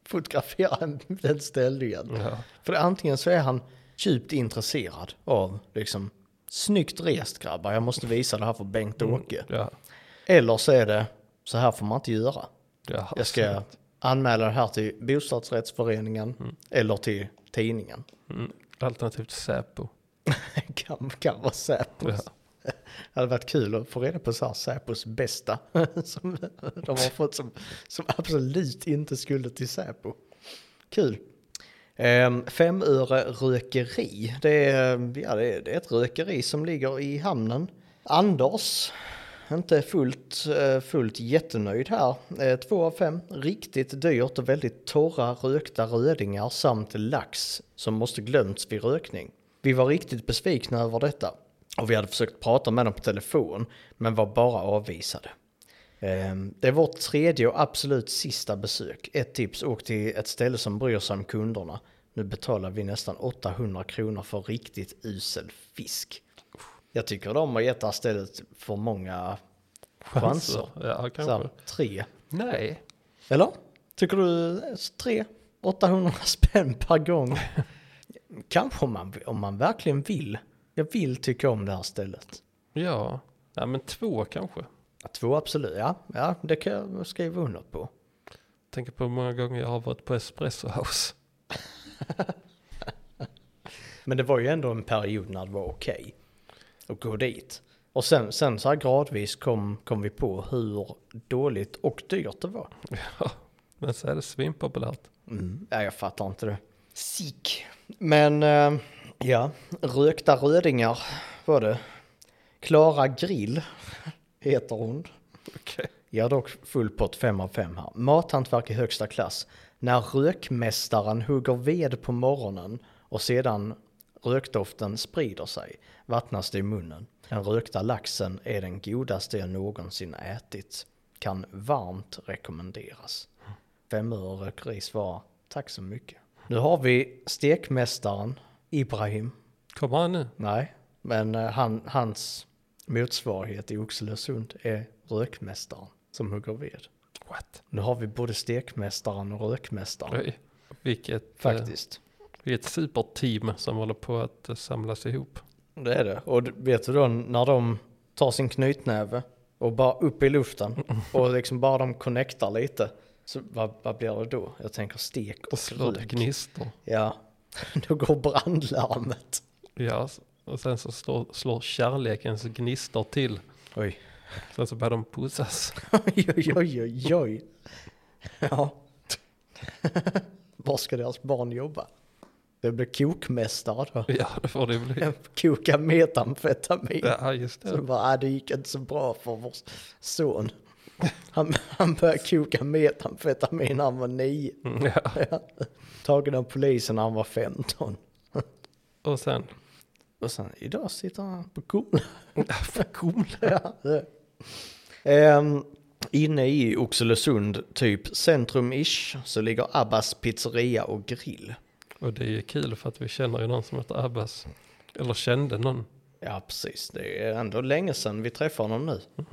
Speaker 2: fotograferar en- den ställningen?
Speaker 3: Ja.
Speaker 2: För antingen så är han djupt intresserad av, liksom, snyggt rest grabbar, jag måste visa det här för Bengt-Åke.
Speaker 3: Ja.
Speaker 2: Eller så är det, så här får man inte göra.
Speaker 3: Ja.
Speaker 2: Jag ska anmäla det här till bostadsrättsföreningen eller till tidningen.
Speaker 3: Mm. Alternativt Säpo.
Speaker 2: kan, kan vara Säpos.
Speaker 3: Ja.
Speaker 2: Det hade varit kul att få reda på så här Säpos bästa. som de har fått som, som absolut inte skulle till Säpo. Kul. Um, Femöre rökeri. Det är, ja, det, är, det är ett rökeri som ligger i hamnen. Anders, inte fullt, eh, fullt jättenöjd här. Eh, Två av fem. Riktigt dyrt och väldigt torra rökta rödingar samt lax som måste glömts vid rökning. Vi var riktigt besvikna över detta och vi hade försökt prata med dem på telefon men var bara avvisade. Ehm, Det är vårt tredje och absolut sista besök. Ett tips, åk till ett ställe som bryr sig om kunderna. Nu betalar vi nästan 800 kronor för riktigt usel fisk. Jag tycker de har gett det här stället för många chanser.
Speaker 3: Ja, kanske.
Speaker 2: Så här, tre.
Speaker 3: Nej.
Speaker 2: Eller? Tycker du eh, tre? 800 spänn per gång. Kanske om man, om man verkligen vill. Jag vill tycka om det här stället.
Speaker 3: Ja. ja, men två kanske.
Speaker 2: Ja, Två absolut, ja. ja. Det kan jag skriva under på.
Speaker 3: Tänker på hur många gånger jag har varit på Espresso House.
Speaker 2: Men det var ju ändå en period när det var okej att gå dit. Och sen, sen så här gradvis kom, kom vi på hur dåligt och dyrt det var.
Speaker 3: Ja. Men så är det svinpopulärt.
Speaker 2: Ja, jag fattar inte det. Sik. Men eh, ja, rökta rödingar var det. Klara Grill heter hon.
Speaker 3: Okej.
Speaker 2: Ja, dock full pott 5 av 5 här. Mathantverk i högsta klass. När rökmästaren hugger ved på morgonen och sedan rökdoften sprider sig vattnas det i munnen. Den rökta laxen är den godaste jag någonsin ätit. Kan varmt rekommenderas. Femöre rökeri svarar tack så mycket. Nu har vi stekmästaren Ibrahim.
Speaker 3: Kommer han nu?
Speaker 2: Nej, men eh, han, hans motsvarighet i Oxelösund är rökmästaren som hugger ved.
Speaker 3: What?
Speaker 2: Nu har vi både stekmästaren och rökmästaren
Speaker 3: Oj. Vilket, eh,
Speaker 2: faktiskt.
Speaker 3: Det är ett superteam som håller på att eh, samlas ihop.
Speaker 2: Det är det. Och d- vet du då när de tar sin knytnäve och bara upp i luften och liksom bara de connectar lite. Så vad, vad blir det då? Jag tänker stek
Speaker 3: Och
Speaker 2: och
Speaker 3: slår det
Speaker 2: rök.
Speaker 3: gnistor.
Speaker 2: Ja, då går brandlarmet.
Speaker 3: Ja, och sen så slår, slår kärlekens gnistor till.
Speaker 2: Oj.
Speaker 3: Sen så börjar de pussas.
Speaker 2: Oj, oj, oj, oj, oj. Ja. Var ska deras barn jobba? Det blir kokmästare då.
Speaker 3: Ja, det får det bli.
Speaker 2: Koka metamfetamin.
Speaker 3: Ja, just
Speaker 2: Så
Speaker 3: det.
Speaker 2: bara, äh, det gick inte så bra för vår son. Han, han började koka metamfetamin när han var nio.
Speaker 3: Mm, Ja.
Speaker 2: Tagen av polisen när han var 15.
Speaker 3: Och sen,
Speaker 2: Och sen idag sitter han på Kumla.
Speaker 3: Kumla.
Speaker 2: Ja, det. Ehm, inne i Oxelösund, typ centrum-ish, så ligger Abbas pizzeria och grill.
Speaker 3: Och det är ju kul för att vi känner ju någon som heter Abbas. Eller kände någon.
Speaker 2: Ja, precis. Det är ändå länge sedan vi träffade honom nu.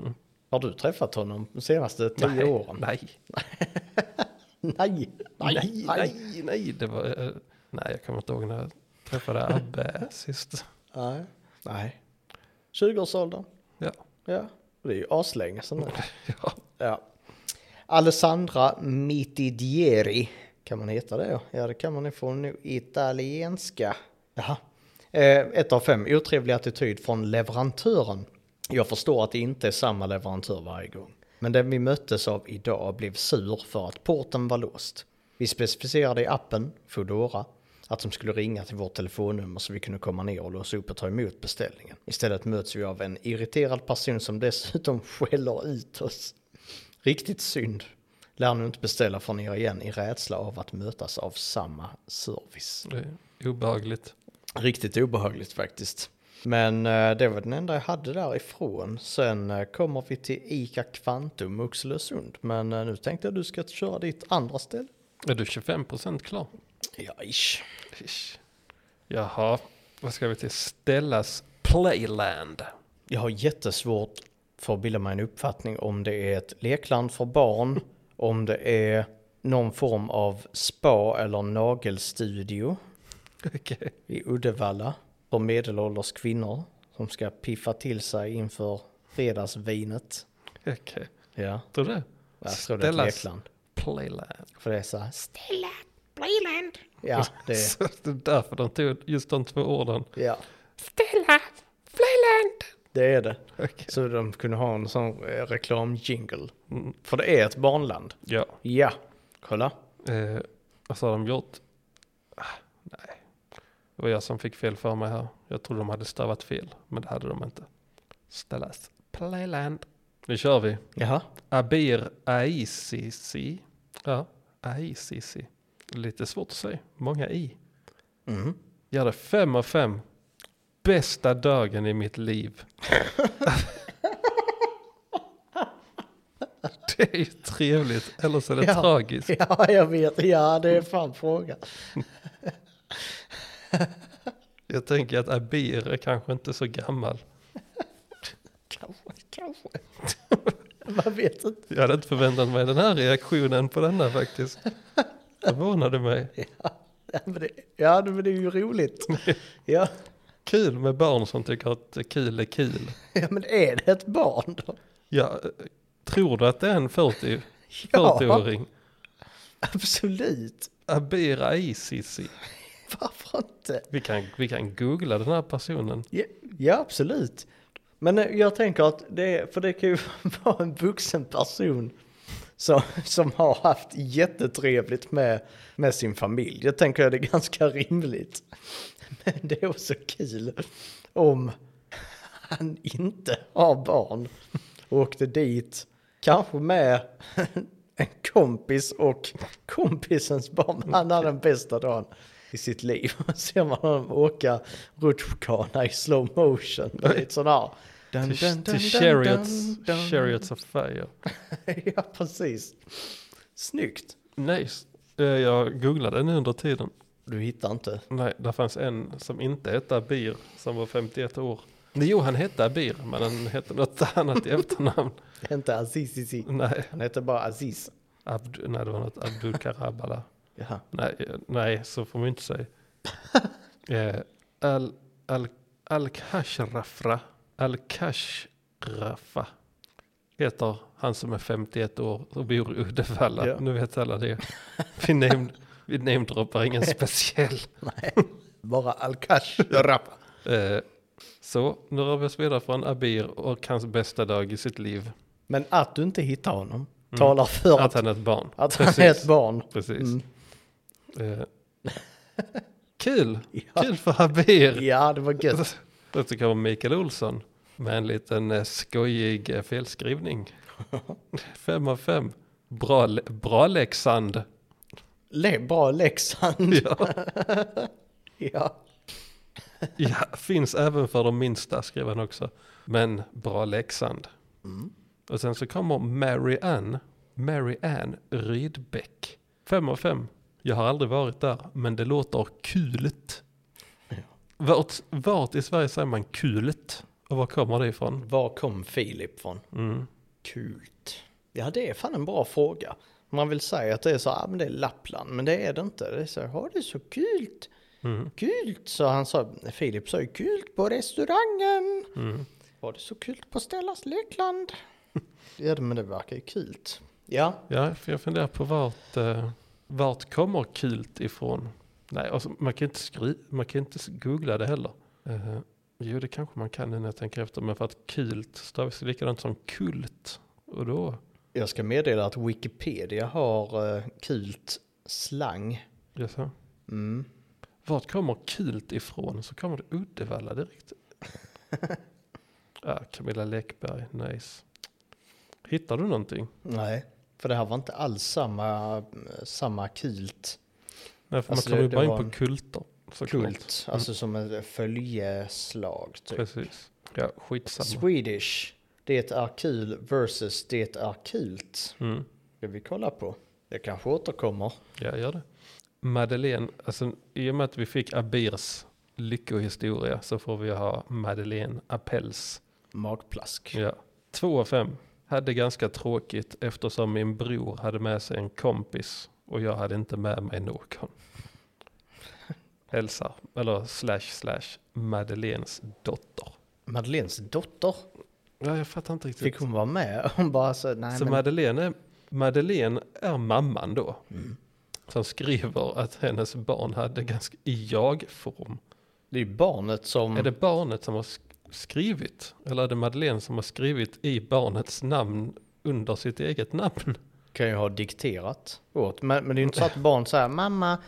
Speaker 2: Har du träffat honom de senaste tio
Speaker 3: Mhm. Nej,
Speaker 2: åren?
Speaker 3: Nej,
Speaker 2: Nej,
Speaker 3: nej, nej, nej. Det var, eh, nej, jag kommer inte ihåg när jag träffade Abbe sist.
Speaker 2: Nej. Nej. 20-årsåldern.
Speaker 3: Ja.
Speaker 2: Ja. Det är ju aslänge sedan nu.
Speaker 3: ja,
Speaker 2: Ja. Alessandra Mitidieri. Kan man heta det? ja? Ja, det kan man ju från nu. italienska. Jaha. Eh, ett av fem. Otrevlig attityd från leverantören. Jag förstår att det inte är samma leverantör varje gång. Men den vi möttes av idag blev sur för att porten var låst. Vi specificerade i appen, Foodora, att de skulle ringa till vårt telefonnummer så vi kunde komma ner och låsa upp och ta emot beställningen. Istället möts vi av en irriterad person som dessutom skäller ut oss. Riktigt synd. Lär nu inte beställa från er igen i rädsla av att mötas av samma service.
Speaker 3: det är obehagligt.
Speaker 2: Riktigt obehagligt faktiskt. Men eh, det var den enda jag hade därifrån. Sen eh, kommer vi till ICA Kvantum Oxelösund. Men eh, nu tänkte jag du ska köra ditt andra ställe.
Speaker 3: Är du 25% klar?
Speaker 2: Ja, ish.
Speaker 3: Ish. Jaha, vad ska vi till? Stellas Playland.
Speaker 2: Jag har jättesvårt för att bilda mig en uppfattning om det är ett lekland för barn, om det är någon form av spa eller nagelstudio.
Speaker 3: Okej.
Speaker 2: i Uddevalla för medelålders kvinnor som ska piffa till sig inför fredagsvinet.
Speaker 3: Okej,
Speaker 2: Ja,
Speaker 3: tror du?
Speaker 2: jag tror det är ett lekland.
Speaker 3: Playland.
Speaker 2: För det är så här, st-
Speaker 4: Playland.
Speaker 2: ja, det är,
Speaker 3: Så det är därför de tog just de två orden.
Speaker 2: ja,
Speaker 4: Stella. Playland.
Speaker 2: det är det.
Speaker 3: Okej.
Speaker 2: Så de kunde ha en sån eh, reklamjingle.
Speaker 3: Mm.
Speaker 2: För det är ett barnland.
Speaker 3: Ja.
Speaker 2: Ja, kolla.
Speaker 3: Eh, vad har de gjort? Ah, nej, det var jag som fick fel för mig här. Jag trodde de hade stavat fel, men det hade de inte. Ställas Playland. Nu kör vi.
Speaker 2: Jaha,
Speaker 3: Abir Aisisi. Ja, Aisisi. Lite svårt att säga. Många i.
Speaker 2: Mhm.
Speaker 3: Gör det fem av fem. Bästa dagen i mitt liv. det är ju trevligt, eller så är det
Speaker 2: Ja.
Speaker 3: tragiskt.
Speaker 2: ja jag vet, ja det är fan frågan.
Speaker 3: Jag tänker att Abir är kanske inte så gammal.
Speaker 2: Kanske, kanske. Man vet inte.
Speaker 3: Jag hade inte förväntat mig den här reaktionen på denna faktiskt. Förvånade mig.
Speaker 2: Ja, men det, ja, men det är ju roligt. Ja,
Speaker 3: Kul med barn som tycker att kul är kul.
Speaker 2: ja men är det ett barn då?
Speaker 3: Ja, tror du att det är en 40,
Speaker 2: Ja.
Speaker 3: 40-åring?
Speaker 2: Absolut.
Speaker 3: Abir Aisisi.
Speaker 2: Varför inte?
Speaker 3: Vi kan, vi kan googla den här personen.
Speaker 2: Ja, ja, absolut. Men eh, jag tänker att det, är- för det kan ju vara en vuxen person som, som har haft jättetrevligt med, med sin familj. Jag tänker att det är ganska rimligt. Men det är också kul om han inte har barn och åkte dit, kanske med en kompis och kompisens barn. Men Han hade den bästa dagen i sitt liv. Och ser man honom åka rutschkana i slow motion. Det är ett sån här... Dun,
Speaker 3: Till,
Speaker 2: dun, dun,
Speaker 3: till
Speaker 2: dun,
Speaker 3: chariots,
Speaker 2: dun, dun.
Speaker 3: chariots of Fire.
Speaker 2: Ja, precis. Snyggt.
Speaker 3: Nice. Eh, Jag googlade nu under tiden.
Speaker 2: Du hittar inte.
Speaker 3: Nej, där fanns en som inte hette Abir, som var 51 år. Nej, Jo, han hette Abir, men han hette något annat i efternamn.
Speaker 2: Inte Aziz.
Speaker 3: Nej,
Speaker 2: Han heter bara Aziz.
Speaker 3: Abd, nej det var något Abdul Karabala.
Speaker 2: Jaha.
Speaker 3: Nej, eh, nej, så får man inte säga. Eh, al, al, Al-Kashrafra Al-Kashrafra heter han som är 51 år och bor i Uddevalla.
Speaker 2: Ja.
Speaker 3: Nu vet alla det. Vi, name, vi namedroppar ingen speciell.
Speaker 2: Bara Alcash.
Speaker 3: Eh, så, nu rör vi oss vidare från Abir och hans bästa dag i sitt liv.
Speaker 2: Men att du inte hittar honom talar för
Speaker 3: Mm. Att
Speaker 2: att,
Speaker 3: han är ett barn.
Speaker 2: att han är ett barn.
Speaker 3: Precis.
Speaker 2: Mm.
Speaker 3: Eh, kul!
Speaker 2: Ja.
Speaker 3: Kul för Abir!
Speaker 2: Ja, det var gött.
Speaker 3: Jag tycker om Mikael Olsson med en liten eh, skojig eh, felskrivning. Fem av fem. Bra, Le- bra Leksand.
Speaker 2: Le bra Leksand.
Speaker 3: Ja.
Speaker 2: Ja.
Speaker 3: ja, finns även för de minsta, skrev han också. Men bra Leksand. Och sen så kommer Mary Ann, Mary Ann Rydbeck. Fem av fem. Jag har aldrig varit där, men det låter kulet. Vart, vart i Sverige säger man kulet? Och var kommer det ifrån?
Speaker 2: Var kom Filip från?
Speaker 3: Mm.
Speaker 2: Kult. Ja, det är fan en bra fråga. Man vill säga att det är så, ah, men det är Lappland, men det är det inte. Det är så, har det är så kult.
Speaker 3: Mm.
Speaker 2: Kult, så han sa, Filip sa ju kult på restaurangen.
Speaker 3: Mm.
Speaker 2: Var det så kult på Stellas Lekland? ja, men det verkar ju kult. Ja,
Speaker 3: Ja, för jag funderar på vart, eh, vart kommer kult ifrån? Nej, alltså, man, kan inte skri- man kan inte s- googla det heller. Eh, jo, det kanske man kan nu när jag tänker efter, men för att kult stavas ju likadant som kult. Och då,
Speaker 2: jag ska meddela att Wikipedia har eh, kult slang.
Speaker 3: jag sa,
Speaker 2: Mm.
Speaker 3: vart kommer kult ifrån? Så kommer det Uddevalla direkt. ah, Camilla Läckberg, nice. Hittar du någonting?
Speaker 2: Nej, för det här var inte alls samma, eh, samma kult.
Speaker 3: Nej, för
Speaker 2: Alltså,
Speaker 3: man kommer ju
Speaker 2: det-
Speaker 3: bara
Speaker 2: det
Speaker 3: in
Speaker 2: var
Speaker 3: på
Speaker 2: en
Speaker 3: kulter. såklart.
Speaker 2: Kult, alltså som ett följeslag typ.
Speaker 3: Precis. Ja, skitsamma.
Speaker 2: Swedish. Det är kul versus det är kult.
Speaker 3: Mm.
Speaker 2: Det vi kollar på. Jag kanske återkommer.
Speaker 3: Jag gör det. Madeleine, alltså, i och med att vi fick Abirs lyckohistoria så får vi ha Madeleine Appels.
Speaker 2: Magplask.
Speaker 3: Ja. Två av fem. Hade ganska tråkigt eftersom min bror hade med sig en kompis och jag hade inte med mig någon. Hälsar, eller slash slash Madeleines dotter.
Speaker 2: Madeleines dotter.
Speaker 3: Ja, jag fattar inte riktigt.
Speaker 2: Fick hon vara med? Hon bara så, nej
Speaker 3: Så
Speaker 2: men.
Speaker 3: Madeleine, är, Madeleine är mamman då.
Speaker 2: Mm.
Speaker 3: Som skriver att hennes barn hade ganska i jag-form.
Speaker 2: Det är ju barnet som.
Speaker 3: Är det barnet som har sk- skrivit? Eller är det Madeleine som har skrivit i barnets namn under sitt eget namn?
Speaker 2: Kan ju ha dikterat åt. Men, men det är ju inte så att barn säger mamma.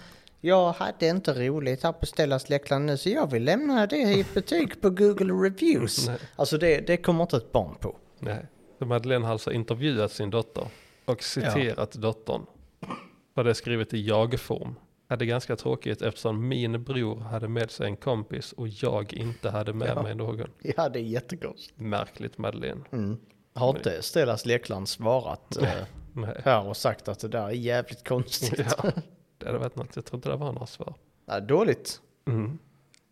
Speaker 2: Jag hade inte roligt här på Stellas Leckland nu så jag vill lämna det i ett betyg på Google Reviews.
Speaker 3: Nej.
Speaker 2: Alltså det, det kommer inte ett barn på.
Speaker 3: Nej. Så Madeleine har alltså intervjuat sin dotter och citerat dottern. Och det är skrivet i jag-form. Hade ganska tråkigt eftersom min bror hade med sig en kompis och jag inte hade med mig någon.
Speaker 2: Ja det är jättegott.
Speaker 3: Märkligt Madeleine.
Speaker 2: Mm. Har inte Stellas Leckland svarat? eh,
Speaker 3: Nej.
Speaker 2: här och sagt att det där är jävligt konstigt.
Speaker 3: Ja, det hade varit något. Jag tror inte det var några svar.
Speaker 2: Nej, dåligt.
Speaker 3: Mm.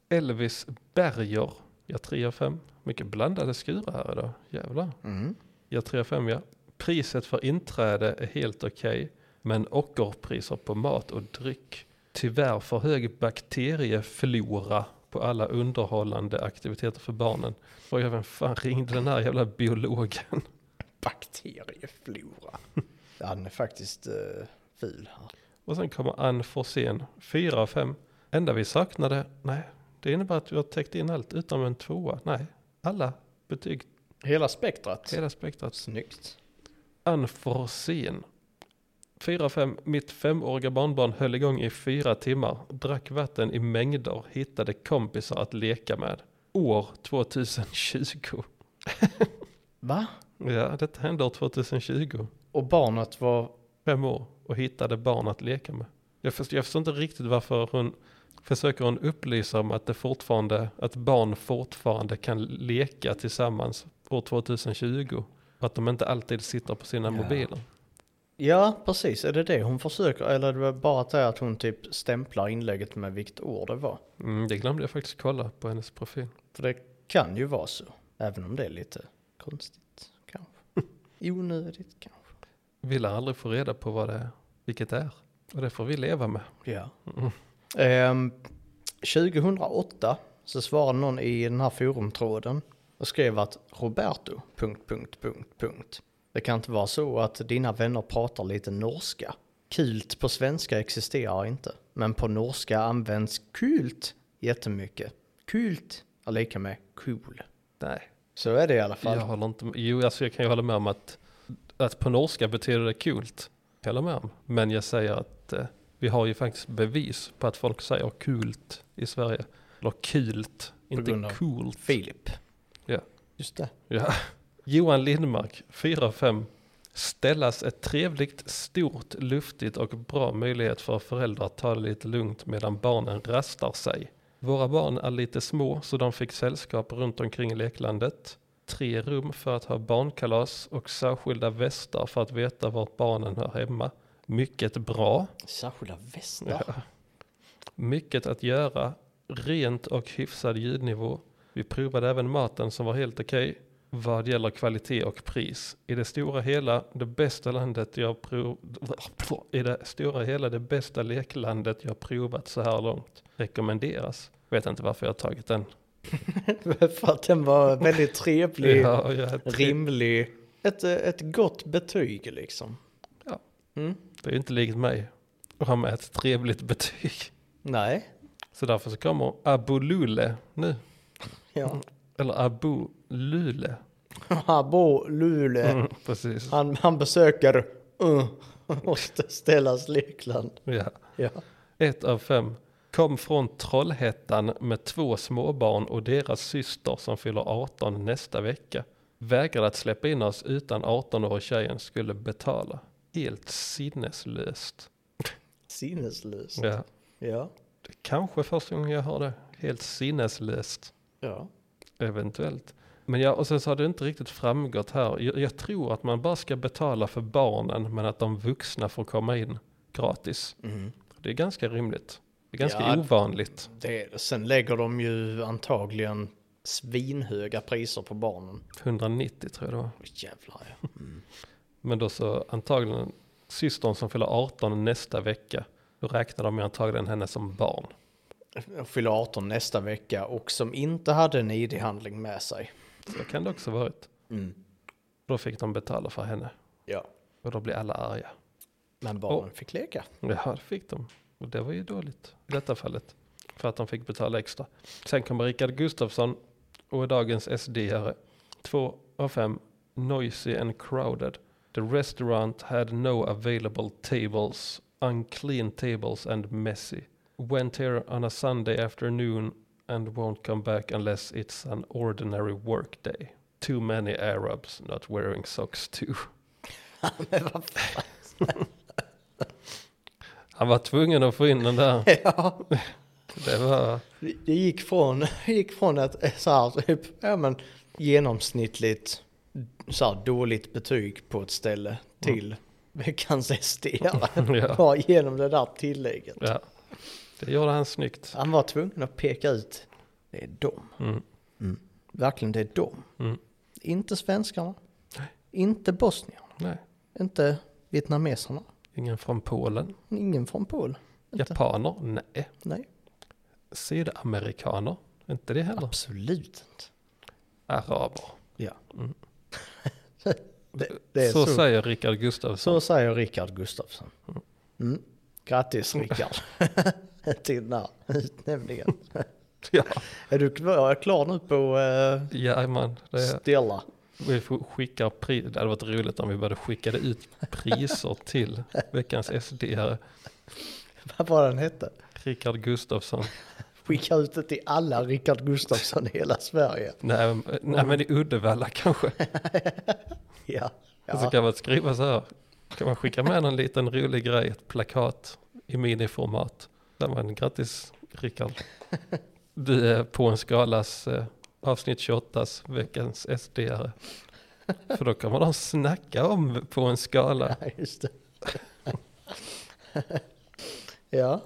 Speaker 3: Elvis Berger. Ja, 3 av 5. Mycket blandade skurar här idag. Jävlar.
Speaker 2: Mm.
Speaker 3: Ja, 3 av 5 ja. Priset för inträde är helt okej. men ockerpriser på mat och dryck. Tyvärr för hög bakterieflora på alla underhållande aktiviteter för barnen. Och jag vem fan ringde den här jävla biologen?
Speaker 2: Bakterieflora. Han är faktiskt uh, ful här.
Speaker 3: Och sen kommer Ann Forsén, 4 av 5. Enda vi saknade, nej, det innebär att vi har täckt in allt utom en tvåa. Nej, alla betyg,
Speaker 2: Hela spektrat.
Speaker 3: hela spektrat.
Speaker 2: Snyggt.
Speaker 3: Ann Forsén, 4 av 5. Mitt femåriga barnbarn höll igång i fyra timmar, drack vatten i mängder, hittade kompisar att leka med. År 2020.
Speaker 2: Va?
Speaker 3: Ja, detta hände år 2020.
Speaker 2: Och barnet var...
Speaker 3: fem år och hittade barn att leka med. Jag förstår, jag förstår inte riktigt varför hon försöker hon upplysa om att, det fortfarande, att barn fortfarande kan leka tillsammans år 2020 och att de inte alltid sitter på sina
Speaker 2: Ja.
Speaker 3: mobiler.
Speaker 2: Ja, precis. Är det det hon försöker? Eller är det var bara att det är att hon typ stämplar inlägget med vilket år det var?
Speaker 3: Mm, det glömde jag faktiskt kolla på hennes profil.
Speaker 2: För det kan ju vara så. Även om det är lite konstigt, kanske. Onödigt, kanske.
Speaker 3: Vi lär aldrig få reda på vad det är, vilket det är. Och det får vi leva med.
Speaker 2: Ja.
Speaker 3: Mm.
Speaker 2: Mm. Ehm, 2008 så svarade någon i den här forumtråden och skrev att Roberto... Punkt, punkt, punkt, punkt. Det kan inte vara så att dina vänner pratar lite norska. Kult på svenska existerar inte, men på norska används kult jättemycket. Kult är lika med cool.
Speaker 3: Nej,
Speaker 2: Så är det i alla fall.
Speaker 3: jag håller inte med. Jo, alltså jag kan ju hålla med om att, att på norska betyder det kult. Jag håller med om. Men jag säger att eh, vi har ju faktiskt bevis på att folk säger kult i Sverige. Eller kult,
Speaker 2: grund av
Speaker 3: inte coolt.
Speaker 2: Filip.
Speaker 3: Ja.
Speaker 2: Just det.
Speaker 3: Ja. Johan Lindmark, 4 av 5. Ställas ett trevligt, stort, luftigt och bra möjlighet för föräldrar att ta det lite lugnt medan barnen rastar sig. Våra barn är lite små så de fick sällskap runt omkring i leklandet. Tre rum för att ha barnkalas och särskilda västar för att veta vart barnen hör hemma. Mycket bra.
Speaker 2: Särskilda västar.
Speaker 3: Ja. Mycket att göra, rent och hyfsad ljudnivå. Vi provade även maten som var helt okej vad gäller kvalitet och pris. I det stora hela det bästa landet jag prov... I det stora hela det bästa leklandet jag provat så här långt. Rekommenderas. Vet inte varför jag har tagit den.
Speaker 2: För att den var väldigt trevlig,
Speaker 3: Ja, jag har tre-
Speaker 2: rimlig. Ett, eh, ett gott betyg liksom.
Speaker 3: Ja.
Speaker 2: Mm.
Speaker 3: Det är ju inte likt mig att ha med ett trevligt betyg.
Speaker 2: Nej.
Speaker 3: Så därför så kommer Abu Lule nu. Mm.
Speaker 2: Ja.
Speaker 3: Eller Abu Lule.
Speaker 2: Han bor Luleå.
Speaker 3: Mm, precis.
Speaker 2: Han, han besöker... Uh, måste ställas Lekland.
Speaker 3: Ja.
Speaker 2: Ja.
Speaker 3: Ett av fem. Kom från Trollhättan med två småbarn och deras syster som fyller 18 nästa vecka. Vägrade att släppa in oss utan 18-årig tjejen skulle betala. Helt sinneslöst.
Speaker 2: Sinneslöst.
Speaker 3: Ja.
Speaker 2: Ja.
Speaker 3: Det är kanske första gången jag hör det. Helt sinneslöst.
Speaker 2: Ja.
Speaker 3: Eventuellt. Men ja, och sen så har det inte riktigt framgått här. Jag, jag tror att man bara ska betala för barnen men att de vuxna får komma in gratis.
Speaker 2: Mm.
Speaker 3: Det är ganska rimligt. Det är ganska
Speaker 2: Ja.
Speaker 3: ovanligt.
Speaker 2: Det, sen lägger de ju antagligen svinhöga priser på barnen.
Speaker 3: 190 tror jag det var.
Speaker 2: Åh, Jävlar ja.
Speaker 3: Men då så antagligen systern som fyller 18 nästa vecka. Då räknar de ju antagligen henne som barn.
Speaker 2: Jag fyller 18 nästa vecka och som inte hade en id-handling med sig.
Speaker 3: Så kan det också varit.
Speaker 2: Mm.
Speaker 3: Då fick de betala för henne.
Speaker 2: Ja.
Speaker 3: Och då blir alla arga.
Speaker 2: Men barnen fick leka.
Speaker 3: Ja, det fick de. Och det var ju dåligt i detta fallet. För att de fick betala extra. Sen kommer Rickard Gustafsson och är dagens SD-are. Två av fem. Noisy and crowded. The restaurant had no available tables. Unclean tables and messy. Went here on a Sunday afternoon and won't come back unless it's an ordinary work day. Too many Arabs not wearing socks too.
Speaker 2: Men vad fan.
Speaker 3: Han var tvungen att få in den där.
Speaker 2: Ja.
Speaker 3: Det var...
Speaker 2: Det gick från, det gick från att så här, typ, ja, men, genomsnittligt så här, dåligt betyg på ett ställe till veckans SD.
Speaker 3: Ja.
Speaker 2: Bara genom det där tillägget.
Speaker 3: Ja, det gjorde han snyggt.
Speaker 2: Han var tvungen att peka ut, det är dem.
Speaker 3: Mm.
Speaker 2: Verkligen, det är dem.
Speaker 3: Mm.
Speaker 2: Inte svenskarna, inte bosnierna,
Speaker 3: Nej,
Speaker 2: inte vietnameserna,
Speaker 3: ingen från Polen.
Speaker 2: ingen från Polen. Inte.
Speaker 3: Japaner? Nej.
Speaker 2: Nej,
Speaker 3: Sydamerikaner? Inte det heller.
Speaker 2: absolut inte.
Speaker 3: Araber.
Speaker 2: Ja.
Speaker 3: Mm.
Speaker 2: det, det är
Speaker 3: så,
Speaker 2: så, så,
Speaker 3: säger Rickard Gustafsson.
Speaker 2: säger Rickard Gustafsson. Mm. Grattis
Speaker 3: Mm.
Speaker 2: Rickard till den här utnämningen.
Speaker 3: Ja,
Speaker 2: Är du klar, klar nu på eh,
Speaker 3: jajamän. Det,
Speaker 2: Stella?
Speaker 3: vi får- skickar pri- det hade varit roligt om vi började skicka det ut priser till veckans SD-are.
Speaker 2: Vad var den hette?
Speaker 3: Rickard Gustafsson.
Speaker 2: Skicka ut det till alla Rickard Gustafsson i hela Sverige.
Speaker 3: Nej, men- nej men i Uddevalla kanske.
Speaker 2: Ja.
Speaker 3: Och Så
Speaker 2: ja.
Speaker 3: kan man skriva så här. Kan man skicka med en liten rolig grej, ett plakat i miniformat. Där man, grattis Rickard. Du är på en skalas eh, avsnitt 28, veckans SD-are. För då kommer de snacka om på en skala.
Speaker 2: ja, just det. ja,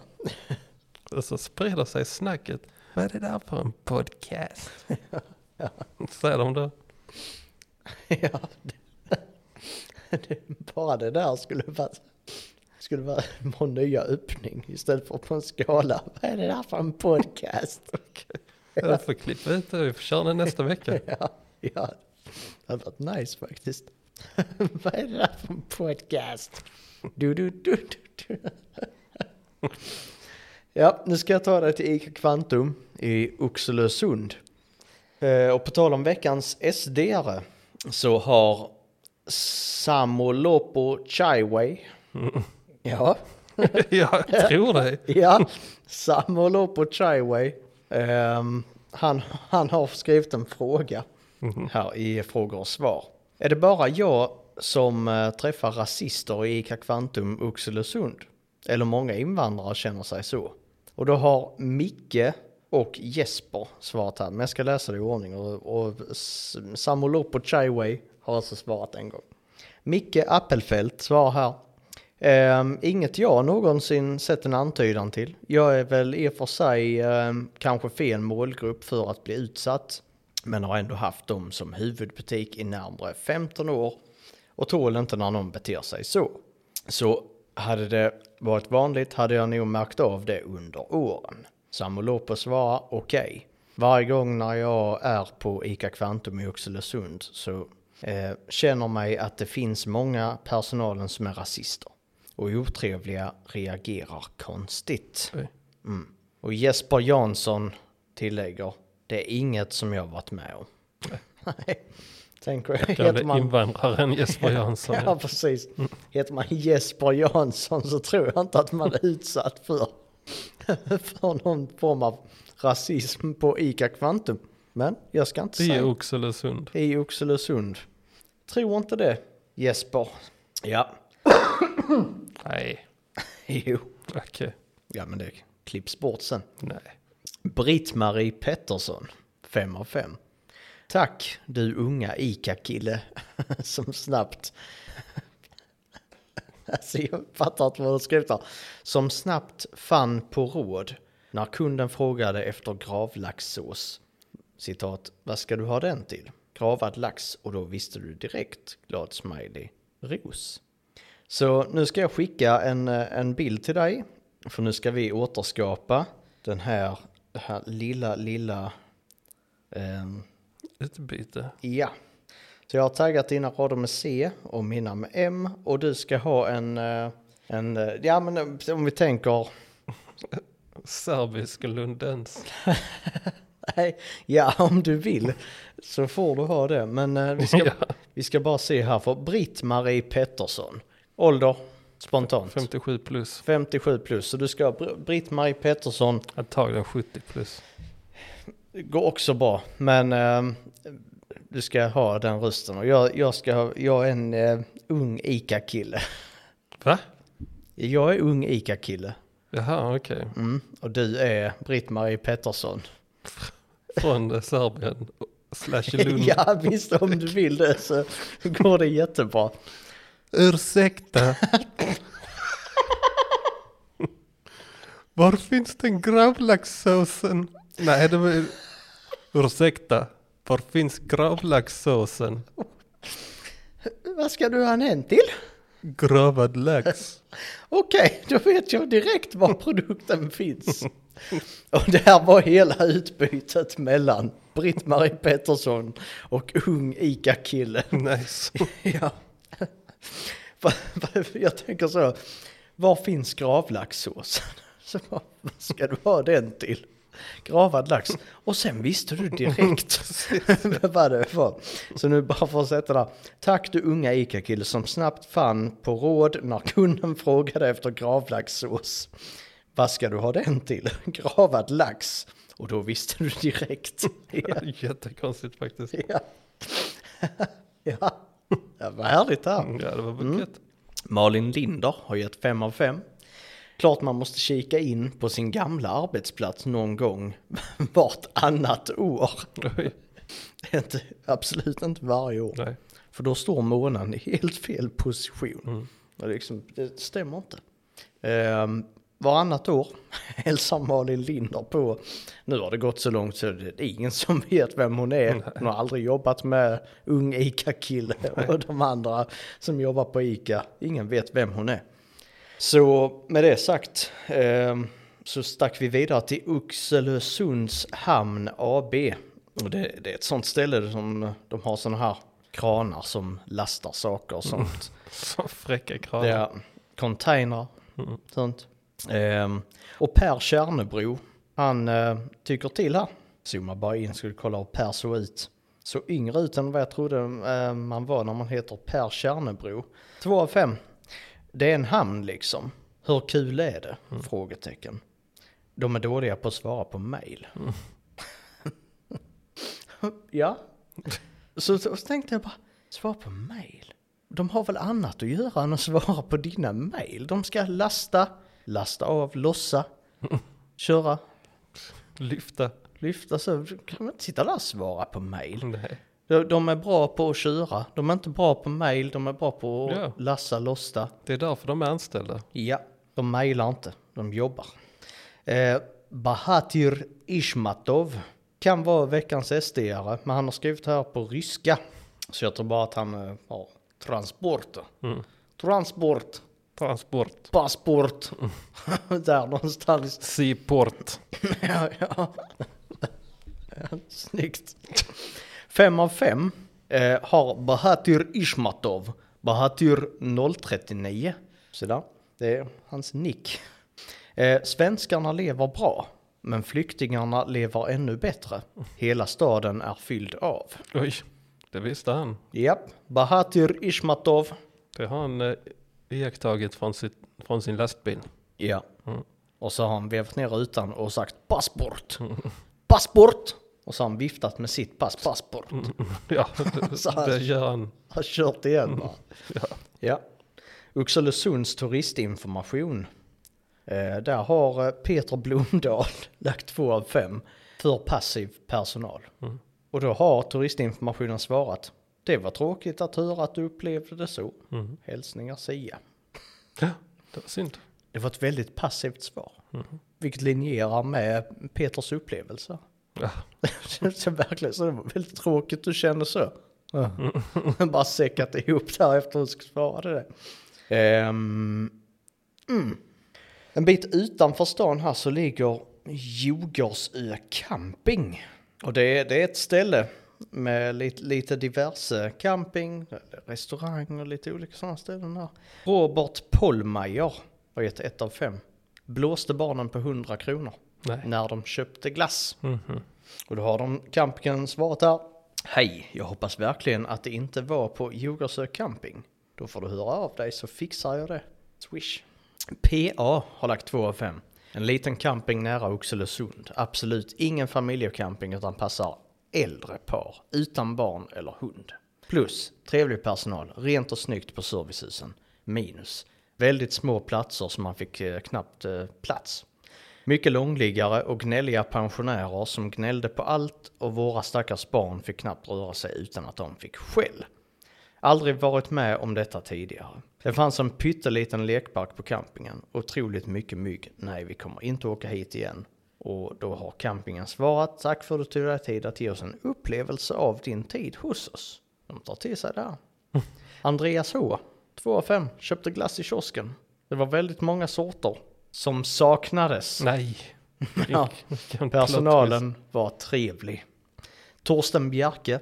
Speaker 3: Och så sprider sig snacket. Vad är det där för en podcast? Säger de då.
Speaker 2: ja. Det, bara det där skulle vara, skulle vara vår nya öppning istället för på en skala. Vad är det där för en podcast?
Speaker 3: Jag får klippa ut det, vi får köra den nästa vecka.
Speaker 2: Ja, ja. Det hade varit nice faktiskt. Vad är det där för en podcast? Du, du, du, du, du. ja, nu ska jag ta dig till ICA Kvantum i Oxelösund. Eh, Och på tal om veckans SD-are så har Samolopo Chaiway. Ja.
Speaker 3: Jag tror dig.
Speaker 2: Ja, Samuel Opo Chaiway. Ehm, han, han har skrivit en fråga här i frågor och svar. Är det bara jag som eh, träffar rasister i ICA Kvantum Oxelösund? Eller många invandrare känner sig så? Och då har Micke och Jesper svarat här, men jag ska läsa det i ordning. Och, och S- Samuel Opo Chaiway har alltså svarat en gång. Micke Appelfelt svarar här. Ehm, inget jag någonsin sett en antydan till. Jag är väl i och för sig ehm, kanske fel målgrupp för att bli utsatt. Men har ändå haft dem som huvudbutik i närmare 15 år. Och tål inte när någon beter sig så. Så hade det varit vanligt hade jag nog märkt av det under åren. Samolopo svarar okej. Varje gång när jag är på ICA Kvantum i Oxelösund så eh, känner mig att det finns många personalen som är rasister. Och otrevliga reagerar konstigt.
Speaker 3: Oj.
Speaker 2: Mm. Och Jesper Jansson tillägger, det är inget som jag varit med om. Nej, tänker jag. Heter
Speaker 3: Gamle
Speaker 2: man
Speaker 3: invandraren Jesper Jansson.
Speaker 2: Ja, precis. Heter man Jesper Jansson så tror jag inte att man är utsatt för, för någon form av rasism på ICA Kvantum. Men jag ska inte
Speaker 3: I
Speaker 2: säga
Speaker 3: Oxelösund.
Speaker 2: i Oxelösund. Tror inte det, Jesper. Ja.
Speaker 3: Nej,
Speaker 2: Jo.
Speaker 3: okej.
Speaker 2: Ja, men det klipps bort sen.
Speaker 3: Nej.
Speaker 2: Britt-Marie Pettersson, 5 av 5. Tack du unga ICA-kille som snabbt... Alltså jag fattar inte vad du skrivit där. Som snabbt fann på råd när kunden frågade efter gravlaxsås. Citat, vad ska du ha den till? Gravad lax och då visste du direkt, glad smiley, ros. Så nu ska jag skicka en, eh, en bild till dig. För nu ska vi återskapa den här, det här lilla, lilla... ehm,
Speaker 3: Utbyte.
Speaker 2: ja. Så jag har taggat dina rader med C och mina med M. Och du ska ha en... eh, en eh, ja, men eh, om vi tänker...
Speaker 3: Serbisk lundens.
Speaker 2: Nej, ja, om du vill så får du ha det. Men eh, vi, ska,
Speaker 3: Ja.
Speaker 2: vi ska bara se här för Britt-Marie Pettersson. Ålder? Spontant.
Speaker 3: 57 plus.
Speaker 2: 57 plus. Så du ska ha Br- Britt-Marie Pettersson.
Speaker 3: Antagligen 70 plus.
Speaker 2: går också bra, men ehm, du ska ha den rösten. Och jag, jag, ska, ha- jag är en eh, ung ICA-kille.
Speaker 3: Va?
Speaker 2: Jag är ung ICA-kille.
Speaker 3: Jaha, okej.
Speaker 2: Mm. Och du är Britt-Marie Pettersson.
Speaker 3: Från eh, Serbien. Slash Lund.
Speaker 2: ja, visst om du vill det så går det jättebra.
Speaker 3: Ursäkta. Var finns den gravlaxsåsen? Nej, det var... Ursäkta. Var finns gravlaxsåsen?
Speaker 2: Vad ska du ha den till?
Speaker 3: Gravad lax.
Speaker 2: Okej, då vet jag direkt var produkten finns. Och det här var hela utbytet mellan Britt-Marie Pettersson och ung ICA-kille.
Speaker 3: Nice.
Speaker 2: Ja. Va- va- Jag tänker så, var finns gravlaxsåsen? Så vad vad ska du ha den till? Gravad lax. Och sen visste du direkt vad det var. Så nu bara för att sätta där. Tack du unga ICA-kille som snabbt fann på råd när kunden frågade efter gravlaxsås. Vad ska du ha den till? Gravad lax. Och då visste du direkt. Ja.
Speaker 3: Jättekonstigt faktiskt.
Speaker 2: Ja. ja. ja, vad härligt det här.
Speaker 3: Ja, det var bucket.
Speaker 2: Malin Linder har gett 5 av 5. Klart man måste kika in på sin gamla arbetsplats någon gång vartannat år.
Speaker 3: Oj,
Speaker 2: Inte, absolut inte varje år.
Speaker 3: nej.
Speaker 2: För då står månen i helt fel position. Och liksom, det stämmer inte. Um, varannat år hälsar Malin Linder på. Nu har det gått så långt så det är ingen som vet vem hon är. Hon har aldrig jobbat med ung ICA-kille och de andra som jobbar på ICA. Ingen vet vem hon är. Så med det sagt ehm, så stack vi vidare till Oxelösunds hamn AB. Och det, det är ett sånt ställe som de har sådana här kranar som lastar saker och sånt.
Speaker 3: Så fräcka krav.
Speaker 2: Ja, containrar, sånt. Ehm, och Per Kärnebro, han eh, tycker till här. Zoomar bara in, skulle kolla hur Per såg ut. Så yngre ut än vad jag trodde eh, man var när man heter Per Kärnebro. Två av fem. Det är en hamn liksom. Hur kul är det? Frågetecken. De är dåliga på att svara på mail. ja. Så, så tänkte jag bara, svara på mail? De har väl annat att göra än att svara på dina mail? De ska lasta, lasta av, lossa, köra,
Speaker 3: Lyfta.
Speaker 2: lyfta. Så kan man inte sitta där och svara på mail?
Speaker 3: Nej.
Speaker 2: De, de är bra på att köra, de är inte bra på mail, de är bra på att
Speaker 3: Ja.
Speaker 2: lassa, lossa.
Speaker 3: Det är därför de är anställda.
Speaker 2: Ja, de mejlar inte, de jobbar. Eh, Bahatir Ishmatov kan vare veckans sd men han har skrivit här på ryska. Så jag tror bara att han eh, har transport. Transport,
Speaker 3: Transport.
Speaker 2: passport, där någonstans.
Speaker 3: Seaport.
Speaker 2: ja, ja. Snyggt. Fem av fem eh, har Bahatir Ishmatov. Bahatir 039. Så där. Det är hans nick. Eh, svenskarna lever bra, men flyktingarna lever ännu bättre. Hela staden är fylld av.
Speaker 3: Oj, det visste han.
Speaker 2: Japp, Bahatir Ishmatov.
Speaker 3: Det har han eh, iakttagit från, sitt, från sin lastbil.
Speaker 2: Ja.
Speaker 3: Mm.
Speaker 2: Och så har han vevat ner rutan och sagt passport. Passport! Och så har han viftat med sitt pass, passport.
Speaker 3: Ja,
Speaker 2: Så här.
Speaker 3: det, det gör han.
Speaker 2: har kört igen va? ja. Oxelösunds turistinformation. Eh, där har eh, Peter Blomdahl lagt två av fem för passiv personal. Och då har turistinformationen svarat. Det var tråkigt att höra att du upplevde det så. Hälsningar Sia.
Speaker 3: Ja, det var synd.
Speaker 2: Det var ett väldigt passivt svar. Vilket linjerar med Peters upplevelse.
Speaker 3: Ja,
Speaker 2: så verkligen, så det var väldigt tråkigt du kände så. Bara säckat ihop där efter hon svarade det. Ehm, mm. En bit utanför stan här så ligger Djurgårdsö camping. Och det är, det är ett ställe med lite, lite diverse camping, restaurang och lite olika sådana ställen här. Robert Pollmeyer har gett ett av fem. Blåste barnen på 100 kronor
Speaker 3: nej.
Speaker 2: när de köpte glass.
Speaker 3: Mhm.
Speaker 2: Och då har de campingen svarat här. Hej, jag hoppas verkligen att det inte var på Djurgårdsö camping. Då får du höra av dig så fixar jag det. Swish. PA har lagt 2 av 5. En liten camping nära Oxelösund. Absolut ingen familjecamping utan passar äldre par utan barn eller hund. Plus trevlig personal, rent och snyggt på servicehusen. Minus väldigt små platser som man fick eh, knappt eh, plats. Mycket långliggare och gnälliga pensionärer som gnällde på allt och våra stackars barn fick knappt röra sig utan att de fick skäll. Aldrig varit med om detta tidigare. Det fanns en pytteliten lekpark på campingen. Otroligt mycket mygg. Nej, vi kommer inte åka hit igen. Och då har campingen svarat. Tack för att du tog dig tid att ge oss en upplevelse av din tid hos oss. De tar till sig där. Andreas H. 2 av 5. Köpte glass i kiosken. Det var väldigt många sorter som saknades.
Speaker 3: Nej.
Speaker 2: Ja.
Speaker 3: Vilken plot
Speaker 2: Personalen var trevlig. Torsten Bjerke,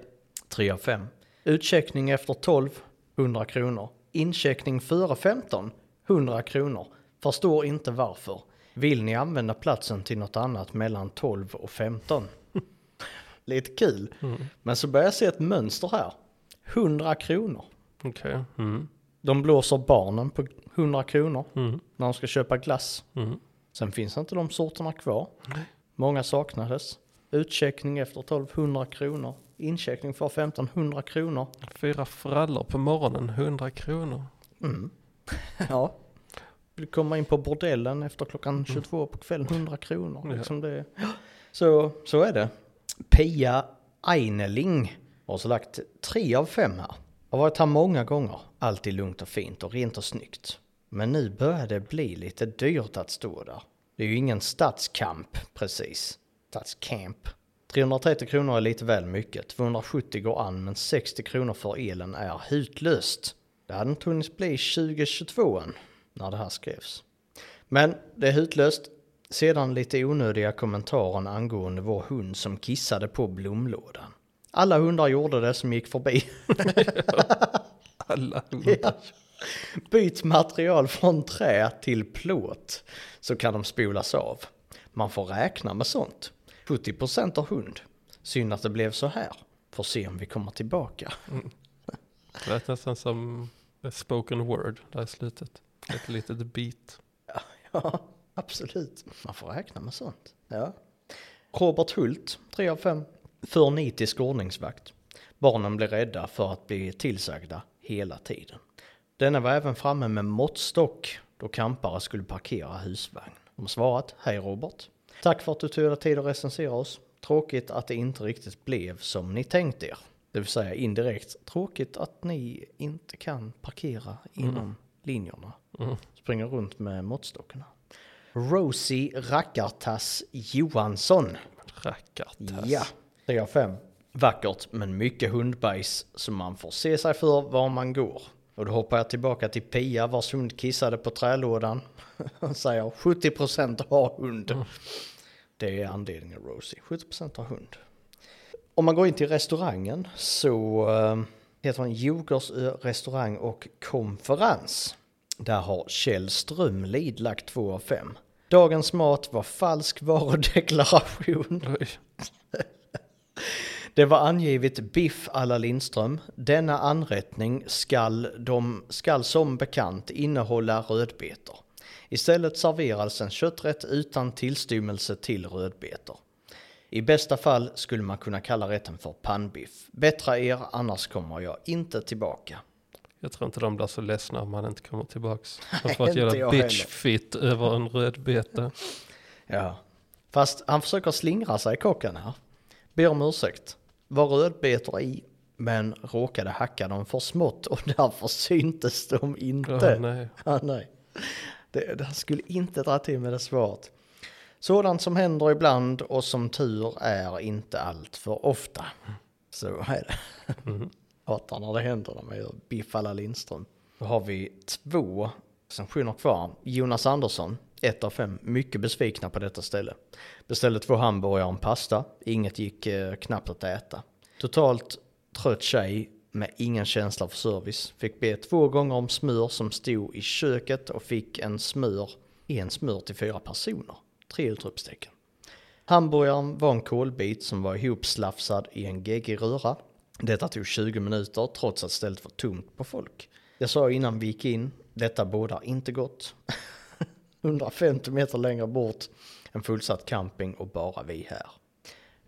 Speaker 2: 3 av 5. Utcheckning efter 12, 100 kronor. Incheckning före 15, 100 kronor. Förstår inte varför. Vill ni använda platsen till något annat mellan 12 och 15? Lite kul. Men så börjar jag se ett mönster här. 100 kronor.
Speaker 3: twist. Okej. Mm.
Speaker 2: De blåser barnen på 100 kronor
Speaker 3: Mm.
Speaker 2: när de ska köpa glass.
Speaker 3: Mm.
Speaker 2: Sen finns inte de sorterna kvar. Många saknades. Utcheckning efter 1200 kronor. Incheckning för 1500 kronor.
Speaker 3: Fyra frallor på morgonen, 100 kronor.
Speaker 2: Ja. Du kommer in på bordellen efter klockan 22 på kvällen, 100 kronor. Liksom det. Så, så är det. Pia Eineling har så lagt tre av fem här. Har varit här många gånger. Alltid lugnt och fint och rent och snyggt. Men nu börjar det bli lite dyrt att stå där. Det är ju ingen stadskamp precis. Stadskamp. 330 kronor är lite väl mycket. 270 går an men 60 kronor för elen är hutlöst. Det hade inte hunnit bli 2022 än. när det här skrevs. Men det är hutlöst. Sedan lite onödiga kommentarer angående vår hund som kissade på blomlådan. Alla hundar gjorde det som gick förbi.
Speaker 3: Alla hundar.
Speaker 2: Byt material från trä till plåt så kan de spolas av. Man får räkna med sånt. 70% har hund. Synd att det blev så här. Får se om vi kommer tillbaka.
Speaker 3: Det lät nästan som a spoken word där i slutet. Ett litet beat.
Speaker 2: Ja, absolut. Man får räkna med sånt. Ja. Robert Hult, 3 av 5. För nitisk ordningsvakt. Barnen blir rädda för att bli tillsagda hela tiden. Denna var även framme med måttstock då kampare skulle parkera husvagn. De svarat, hej Robert. Tack för att du tog dig tid att recensera oss. Tråkigt att det inte riktigt blev som ni tänkt er. Det vill säga indirekt, tråkigt att ni inte kan parkera inom linjerna. Springer runt med måttstockarna. Rosie Rackartass Johansson.
Speaker 3: Rackartass.
Speaker 2: Ja, 3 av 5. Vackert, men mycket hundbajs som man får se sig för var man går. Och då hoppar jag tillbaka till Pia vars hund kissade på trälådan. Hon säger 70% har hund. Det är anledningen Rosie, 70% har hund. Om man går in till restaurangen så eh, heter den Jokers restaurang och konferens. Där har Kjell Strömlid lagt 2 av 5. Dagens mat var falsk varudeklaration.
Speaker 3: Oj.
Speaker 2: Det var angivet biff alla Lindström. Denna anrättning skall, de, skall som bekant innehålla rödbetor. Istället serverades en kötträtt utan tillstymmelse till rödbetor. I bästa fall skulle man kunna kalla rätten för pannbiff. Bättra er, annars kommer jag inte tillbaka.
Speaker 3: Jag tror inte de blir så ledsna om man inte kommer tillbaks. De
Speaker 2: Nej,
Speaker 3: får ett
Speaker 2: inte
Speaker 3: jävla
Speaker 2: jag
Speaker 3: bitchfit över en rödbeta.
Speaker 2: Ja. Fast han försöker slingra sig kocken här. Ber om ursäkt. Var rödbetor i, men råkade hacka dem för smått och därför syntes de inte.
Speaker 3: Åh, nej.
Speaker 2: Ja, nej. Det, det här skulle inte dra till med det svaret. Sådant som händer ibland och som tur är inte allt för ofta. Så är det. Hatar när det händer när man gör biff alla Lindström. Då har vi två sanktioner kvar. Jonas Andersson, ett av fem, mycket besvikna på detta ställe. Beställde två hamburgare och en pasta. Inget gick eh, knappt att äta. Totalt trött tjej med ingen känsla för service. Fick be två gånger om smör som stod i köket och fick en smör, en smör till fyra personer. Tre utropstecken. Hamburgaren var en kolbit som var ihopslafsad i en geggig röra. Detta tog 20 minuter trots att stället var tomt på folk. Jag sa innan vi gick in, detta bådar inte gott. 150 meter längre bort, en fullsatt camping och bara vi här.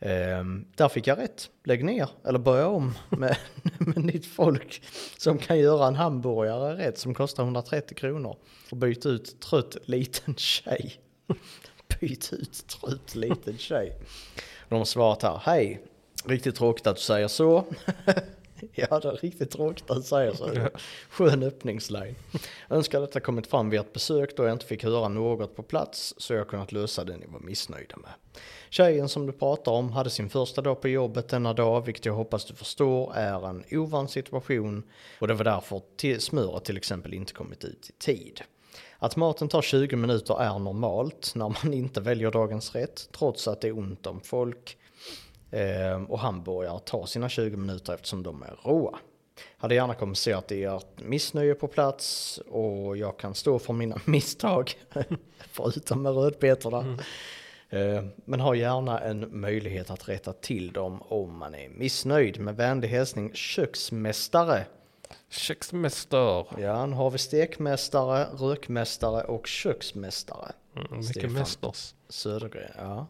Speaker 2: Ehm, där fick jag rätt. Lägg ner eller börja om med, med nytt folk som kan göra en hamburgare rätt som kostar 130 kronor. Och byt ut trött liten tjej. byt ut trött liten tjej. De har svarat här, hej, riktigt tråkigt att du säger så. ja, det är riktigt tråkigt att du säger så. Skön öppningsline. Önskar detta kommit fram vid ett besök då jag inte fick höra något på plats så jag kunnat lösa det ni var missnöjda med. Tjejen som du pratar om hade sin första dag på jobbet denna dag, vilket jag hoppas du förstår är en ovan situation och det var därför till smöret till exempel inte kommit ut i tid. Att maten tar 20 minuter är normalt när man inte väljer dagens rätt, trots att det är ont om folk. Ehm, och hamburgare tar sina 20 minuter eftersom de är råa. Hade gärna kompenserat ert missnöje på plats och jag kan stå för mina misstag, förutom med rödbetorna. Ehm, Men har gärna en möjlighet att rätta till dem om man är missnöjd. Med vänlig hälsning köksmästare
Speaker 3: Köksmästare.
Speaker 2: Ja, han har vi stekmästare, rökmästare och köksmästare.
Speaker 3: Mm, mycket
Speaker 2: Stefan.
Speaker 3: mästers.
Speaker 2: Södergren, ja.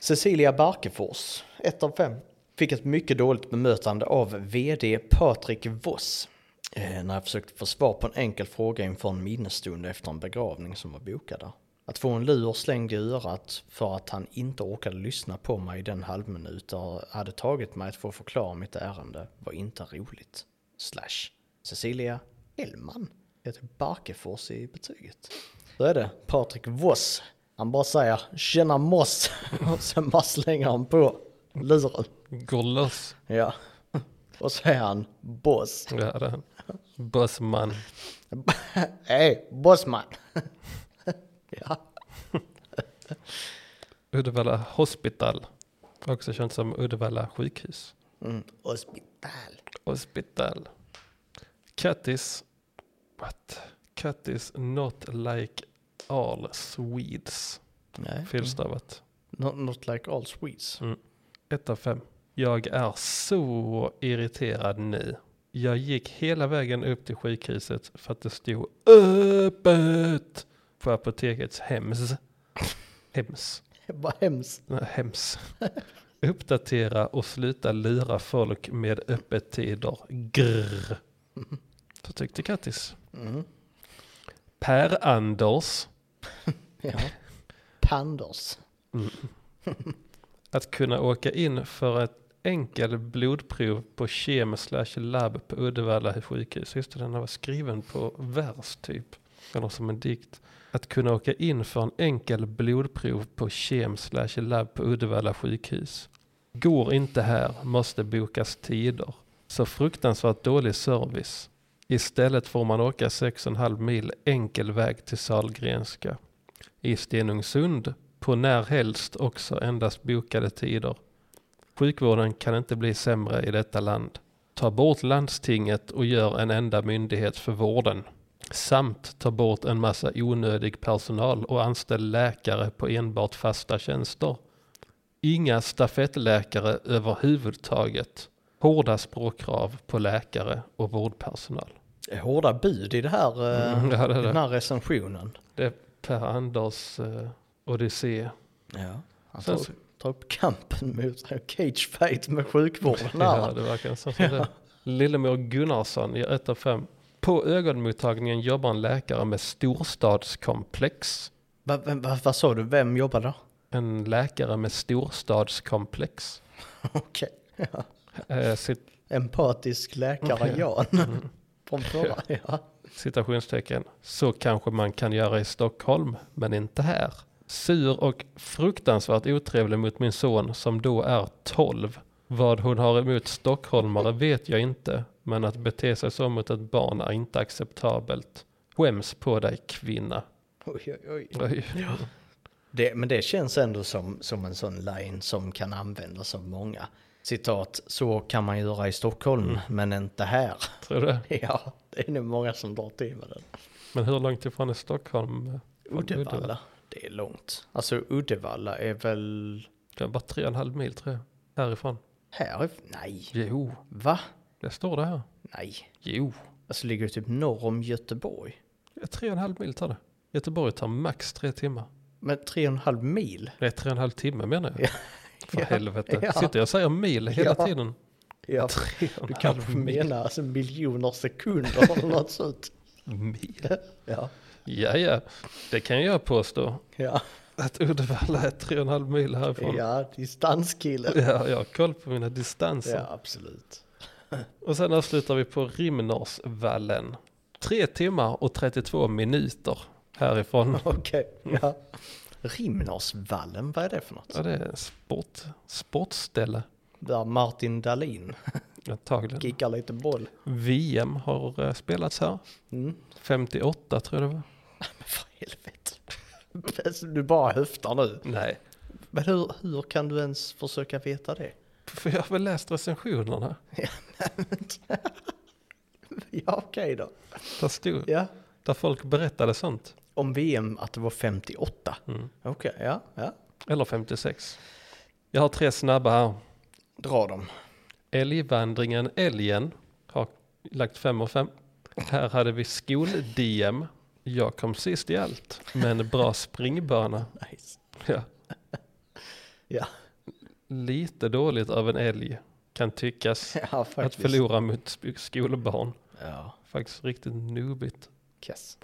Speaker 2: Cecilia Barkefors, 1 av 5. Fick ett mycket dåligt bemötande av vd Patrik Voss. Eh, när jag försökte få svar på en enkel fråga inför en minnesstund efter en begravning som var bokad där. Att få en lur slängd i örat för att han inte orkade lyssna på mig i den halvminut det hade tagit mig att få förklara mitt ärende var inte roligt. Slash. Cecilia Hellman heter Barkefors i betyget. Så är det. Patrik Voss. Han bara säger tjena moss och sen bara slänger han på luren.
Speaker 3: Går loss.
Speaker 2: Ja. Och så är han boss.
Speaker 3: Ja, det är han. Bossman.
Speaker 2: Hej, bossman. ja.
Speaker 3: Uddevalla Hospital. Också känt som Uddevalla sjukhus.
Speaker 2: Mm. Hospital.
Speaker 3: Hospital. Kattis. What? Kattis not like all Swedes.
Speaker 2: Nej.
Speaker 3: Felstavat.
Speaker 2: Not, not like all Swedes.
Speaker 3: Ett av fem. Jag är så irriterad nu. Jag gick hela vägen upp till sjukhuset för att det stod öppet på apotekets hems. Hems.
Speaker 2: Vad hemskt.
Speaker 3: Nej, Hems. Uppdatera och sluta lura folk med öppettider. Grr. Så tyckte Kattis.
Speaker 2: Mm.
Speaker 3: Per-Anders.
Speaker 2: Ja. Panders.
Speaker 3: Mm. Att kunna åka in för ett enkel blodprov på kem slash labb på Uddevalla sjukhus. Just det, den var skriven på vers typ. Eller som en dikt. Att kunna åka in för en enkel blodprov på kem slash labb på Uddevalla sjukhus. Går inte här, måste bokas tider. Så fruktansvärt dålig service. Istället får man åka 6,5 mil enkel väg till Sahlgrenska. I Stenungsund på när helst också endast bokade tider. Sjukvården kan inte bli sämre i detta land. Ta bort landstinget och gör en enda myndighet för vården. Samt ta bort en massa onödig personal och anställ läkare på enbart fasta tjänster. Inga stafettläkare överhuvudtaget. Hårda språkkrav på läkare och vårdpersonal.
Speaker 2: Det är Hårda bud i, det här, eh,
Speaker 3: Mm, ja, det är
Speaker 2: i
Speaker 3: det.
Speaker 2: den här recensionen.
Speaker 3: Det är Per Anders eh, odyssé.
Speaker 2: Ja. Han
Speaker 3: Sen
Speaker 2: tar,
Speaker 3: så-
Speaker 2: tar upp kampen mot en cage fight med sjukvården.
Speaker 3: Ja,
Speaker 2: här.
Speaker 3: det verkar som det. Lillemor Gunnarsson i 1 av 5. På ögonmottagningen jobbar en läkare med storstadskomplex.
Speaker 2: Va, vem- va, vad sa du? Vem jobbar där?
Speaker 3: En läkare med storstadskomplex.
Speaker 2: Okej. Ja.
Speaker 3: Eh, cit-
Speaker 2: Empatisk läkare Jan. Från förra. Ja.
Speaker 3: citationstecken. Så kanske man kan göra i Stockholm, men inte här. Sur och fruktansvärt otrevlig mot min son som då är 12. Vad hon har emot stockholmare vet jag inte, men att bete sig så mot ett barn är inte acceptabelt. Skäms på dig kvinna.
Speaker 2: Oj, oj, oj.
Speaker 3: Oj.
Speaker 2: Det, men det känns ändå som, som en sån line som kan användas av många. Citat, så kan man göra i Stockholm, men inte här.
Speaker 3: Tror du det?
Speaker 2: Ja, det är nog många som drar till med den.
Speaker 3: Men hur långt ifrån är Stockholm? från
Speaker 2: Uddevalla, det är långt. Alltså Uddevalla är väl
Speaker 3: Det är bara tre och en halv mil tror jag. Härifrån.
Speaker 2: här? Nej.
Speaker 3: Jo,
Speaker 2: Va?
Speaker 3: det står det här.
Speaker 2: Nej.
Speaker 3: Jo.
Speaker 2: Alltså ligger det typ norr om Göteborg.
Speaker 3: Det är tre och en halv mil tar det. Göteborg tar max tre timmar.
Speaker 2: Men tre och en halv mil?
Speaker 3: Det är tre och en halv timme menar jag. För
Speaker 2: Ja,
Speaker 3: helvete.
Speaker 2: ja.
Speaker 3: Sitter jag och säger mil hela
Speaker 2: Ja.
Speaker 3: tiden?
Speaker 2: Ja,
Speaker 3: Tre och
Speaker 2: du
Speaker 3: en halv
Speaker 2: kanske
Speaker 3: mil.
Speaker 2: menar alltså miljoner sekunder eller något sånt.
Speaker 3: mil.
Speaker 2: Ja,
Speaker 3: Ja, ja. Det kan jag påstå.
Speaker 2: ja,
Speaker 3: Att Uddevalla är tre och en halv mil härifrån. Ja.
Speaker 2: ja, distanskille.
Speaker 3: jag har koll på mina distanser.
Speaker 2: Ja, absolut.
Speaker 3: Och sen avslutar vi på Rimnersvallen. Tre timmar och 32 minuter härifrån.
Speaker 2: Okej, ja. Rimnarsvallen, vad är det för något?
Speaker 3: Ja, det är sport, sportställe
Speaker 2: Där Martin Dahlin
Speaker 3: antagligen.
Speaker 2: kickar lite boll.
Speaker 3: VM har eh, spelats här.
Speaker 2: Mm.
Speaker 3: 58 tror jag det var.
Speaker 2: Men för helvete. Alltså, Du bara höftar nu.
Speaker 3: Nej,
Speaker 2: Men hur, hur kan du ens försöka veta det?
Speaker 3: för jag har väl läst recensionerna.
Speaker 2: Ja, okej då.
Speaker 3: Där, stod,
Speaker 2: Ja.
Speaker 3: där folk berättade sånt.
Speaker 2: Om VM att det var 58.
Speaker 3: Mm.
Speaker 2: Okej, ja, ja.
Speaker 3: Eller 56. Jag har tre snabba här.
Speaker 2: Dra dem.
Speaker 3: Älgvandringen Älgen har lagt fem och fem. Här hade vi skol-DM. Jag kom sist i allt, men bra springbana.
Speaker 2: Nice.
Speaker 3: Ja.
Speaker 2: Ja,
Speaker 3: Lite dåligt av en älg kan tyckas.
Speaker 2: ja
Speaker 3: Att
Speaker 2: faktiskt.
Speaker 3: förlora mot sp- skolbarn.
Speaker 2: Ja,
Speaker 3: Faktiskt riktigt nubigt.
Speaker 2: kass.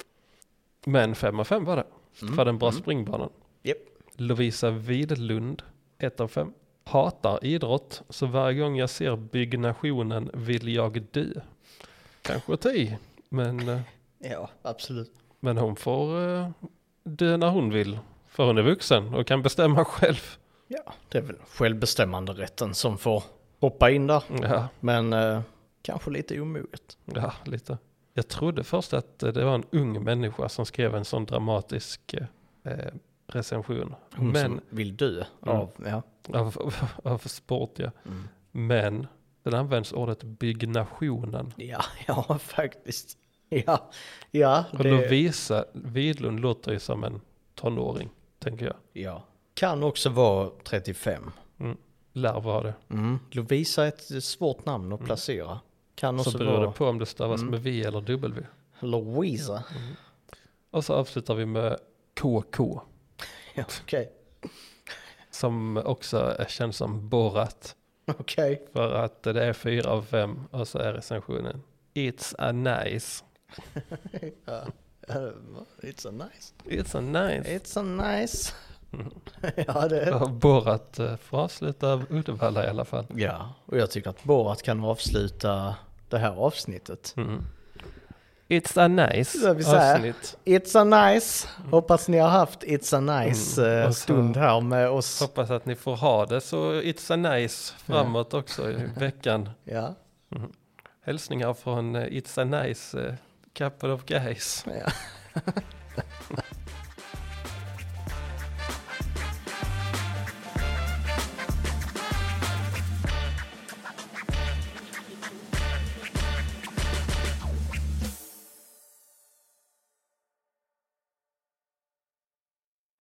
Speaker 3: Men fem av fem var det.
Speaker 2: Mm.
Speaker 3: För den bra springbanan.
Speaker 2: Japp.
Speaker 3: Lovisa Widlund, 1 av 5. Hatar idrott, så varje gång jag ser byggnationen vill jag dö. Kanske att ta i, men, eh,
Speaker 2: Ja, absolut.
Speaker 3: men hon får eh, dö när hon vill. För hon är vuxen och kan bestämma själv.
Speaker 2: Ja, det är väl självbestämmanderätten som får hoppa in där.
Speaker 3: Ja,
Speaker 2: Men eh, kanske lite omoget.
Speaker 3: ja, lite. Jag trodde först att eh, det var en ung människa som skrev en sån dramatisk eh, recension.
Speaker 2: Hon
Speaker 3: Men, Mm.
Speaker 2: som vill dö av, ja.
Speaker 3: av, av, av sport ja.
Speaker 2: Mm.
Speaker 3: Men, sen används ordet byggnationen.
Speaker 2: Ja, ja faktiskt. Ja, ja.
Speaker 3: Och Lovisa Widlund låter ju som en tonåring, tänker jag.
Speaker 2: ja. Kan också vara 35.
Speaker 3: Lär vara det.
Speaker 2: Mm. Lovisa är ett svårt namn att placera. Kan
Speaker 3: Mm. Så
Speaker 2: också
Speaker 3: beror det
Speaker 2: vara
Speaker 3: på om det stavas
Speaker 2: Mm.
Speaker 3: med V eller W.
Speaker 2: Louisa.
Speaker 3: Och så avslutar vi med KK,
Speaker 2: Ja, Okej,
Speaker 3: som också känns som borrat.
Speaker 2: okej.
Speaker 3: För att det är fyra av fem och så är recensionen It's a nice.
Speaker 2: Ja. Eh, It's a nice.
Speaker 3: It's a nice.
Speaker 2: It's a nice.
Speaker 3: Mm.
Speaker 2: ja, det är...
Speaker 3: Och Borrat eh, får avsluta Uddevalla i alla fall.
Speaker 2: Ja, och jag tycker att Borat kan avsluta det här avsnittet.
Speaker 3: Mm. It's a nice
Speaker 2: Ska vi säga?
Speaker 3: avsnitt.
Speaker 2: It's a nice. Hoppas ni har haft It's a nice
Speaker 3: Mm,
Speaker 2: eh,
Speaker 3: och så-
Speaker 2: stund här med oss.
Speaker 3: Hoppas att ni får ha det så It's a nice framåt också i veckan.
Speaker 2: Ja,
Speaker 3: Hälsningar från eh, It's a nice eh, couple of guys.
Speaker 2: ja.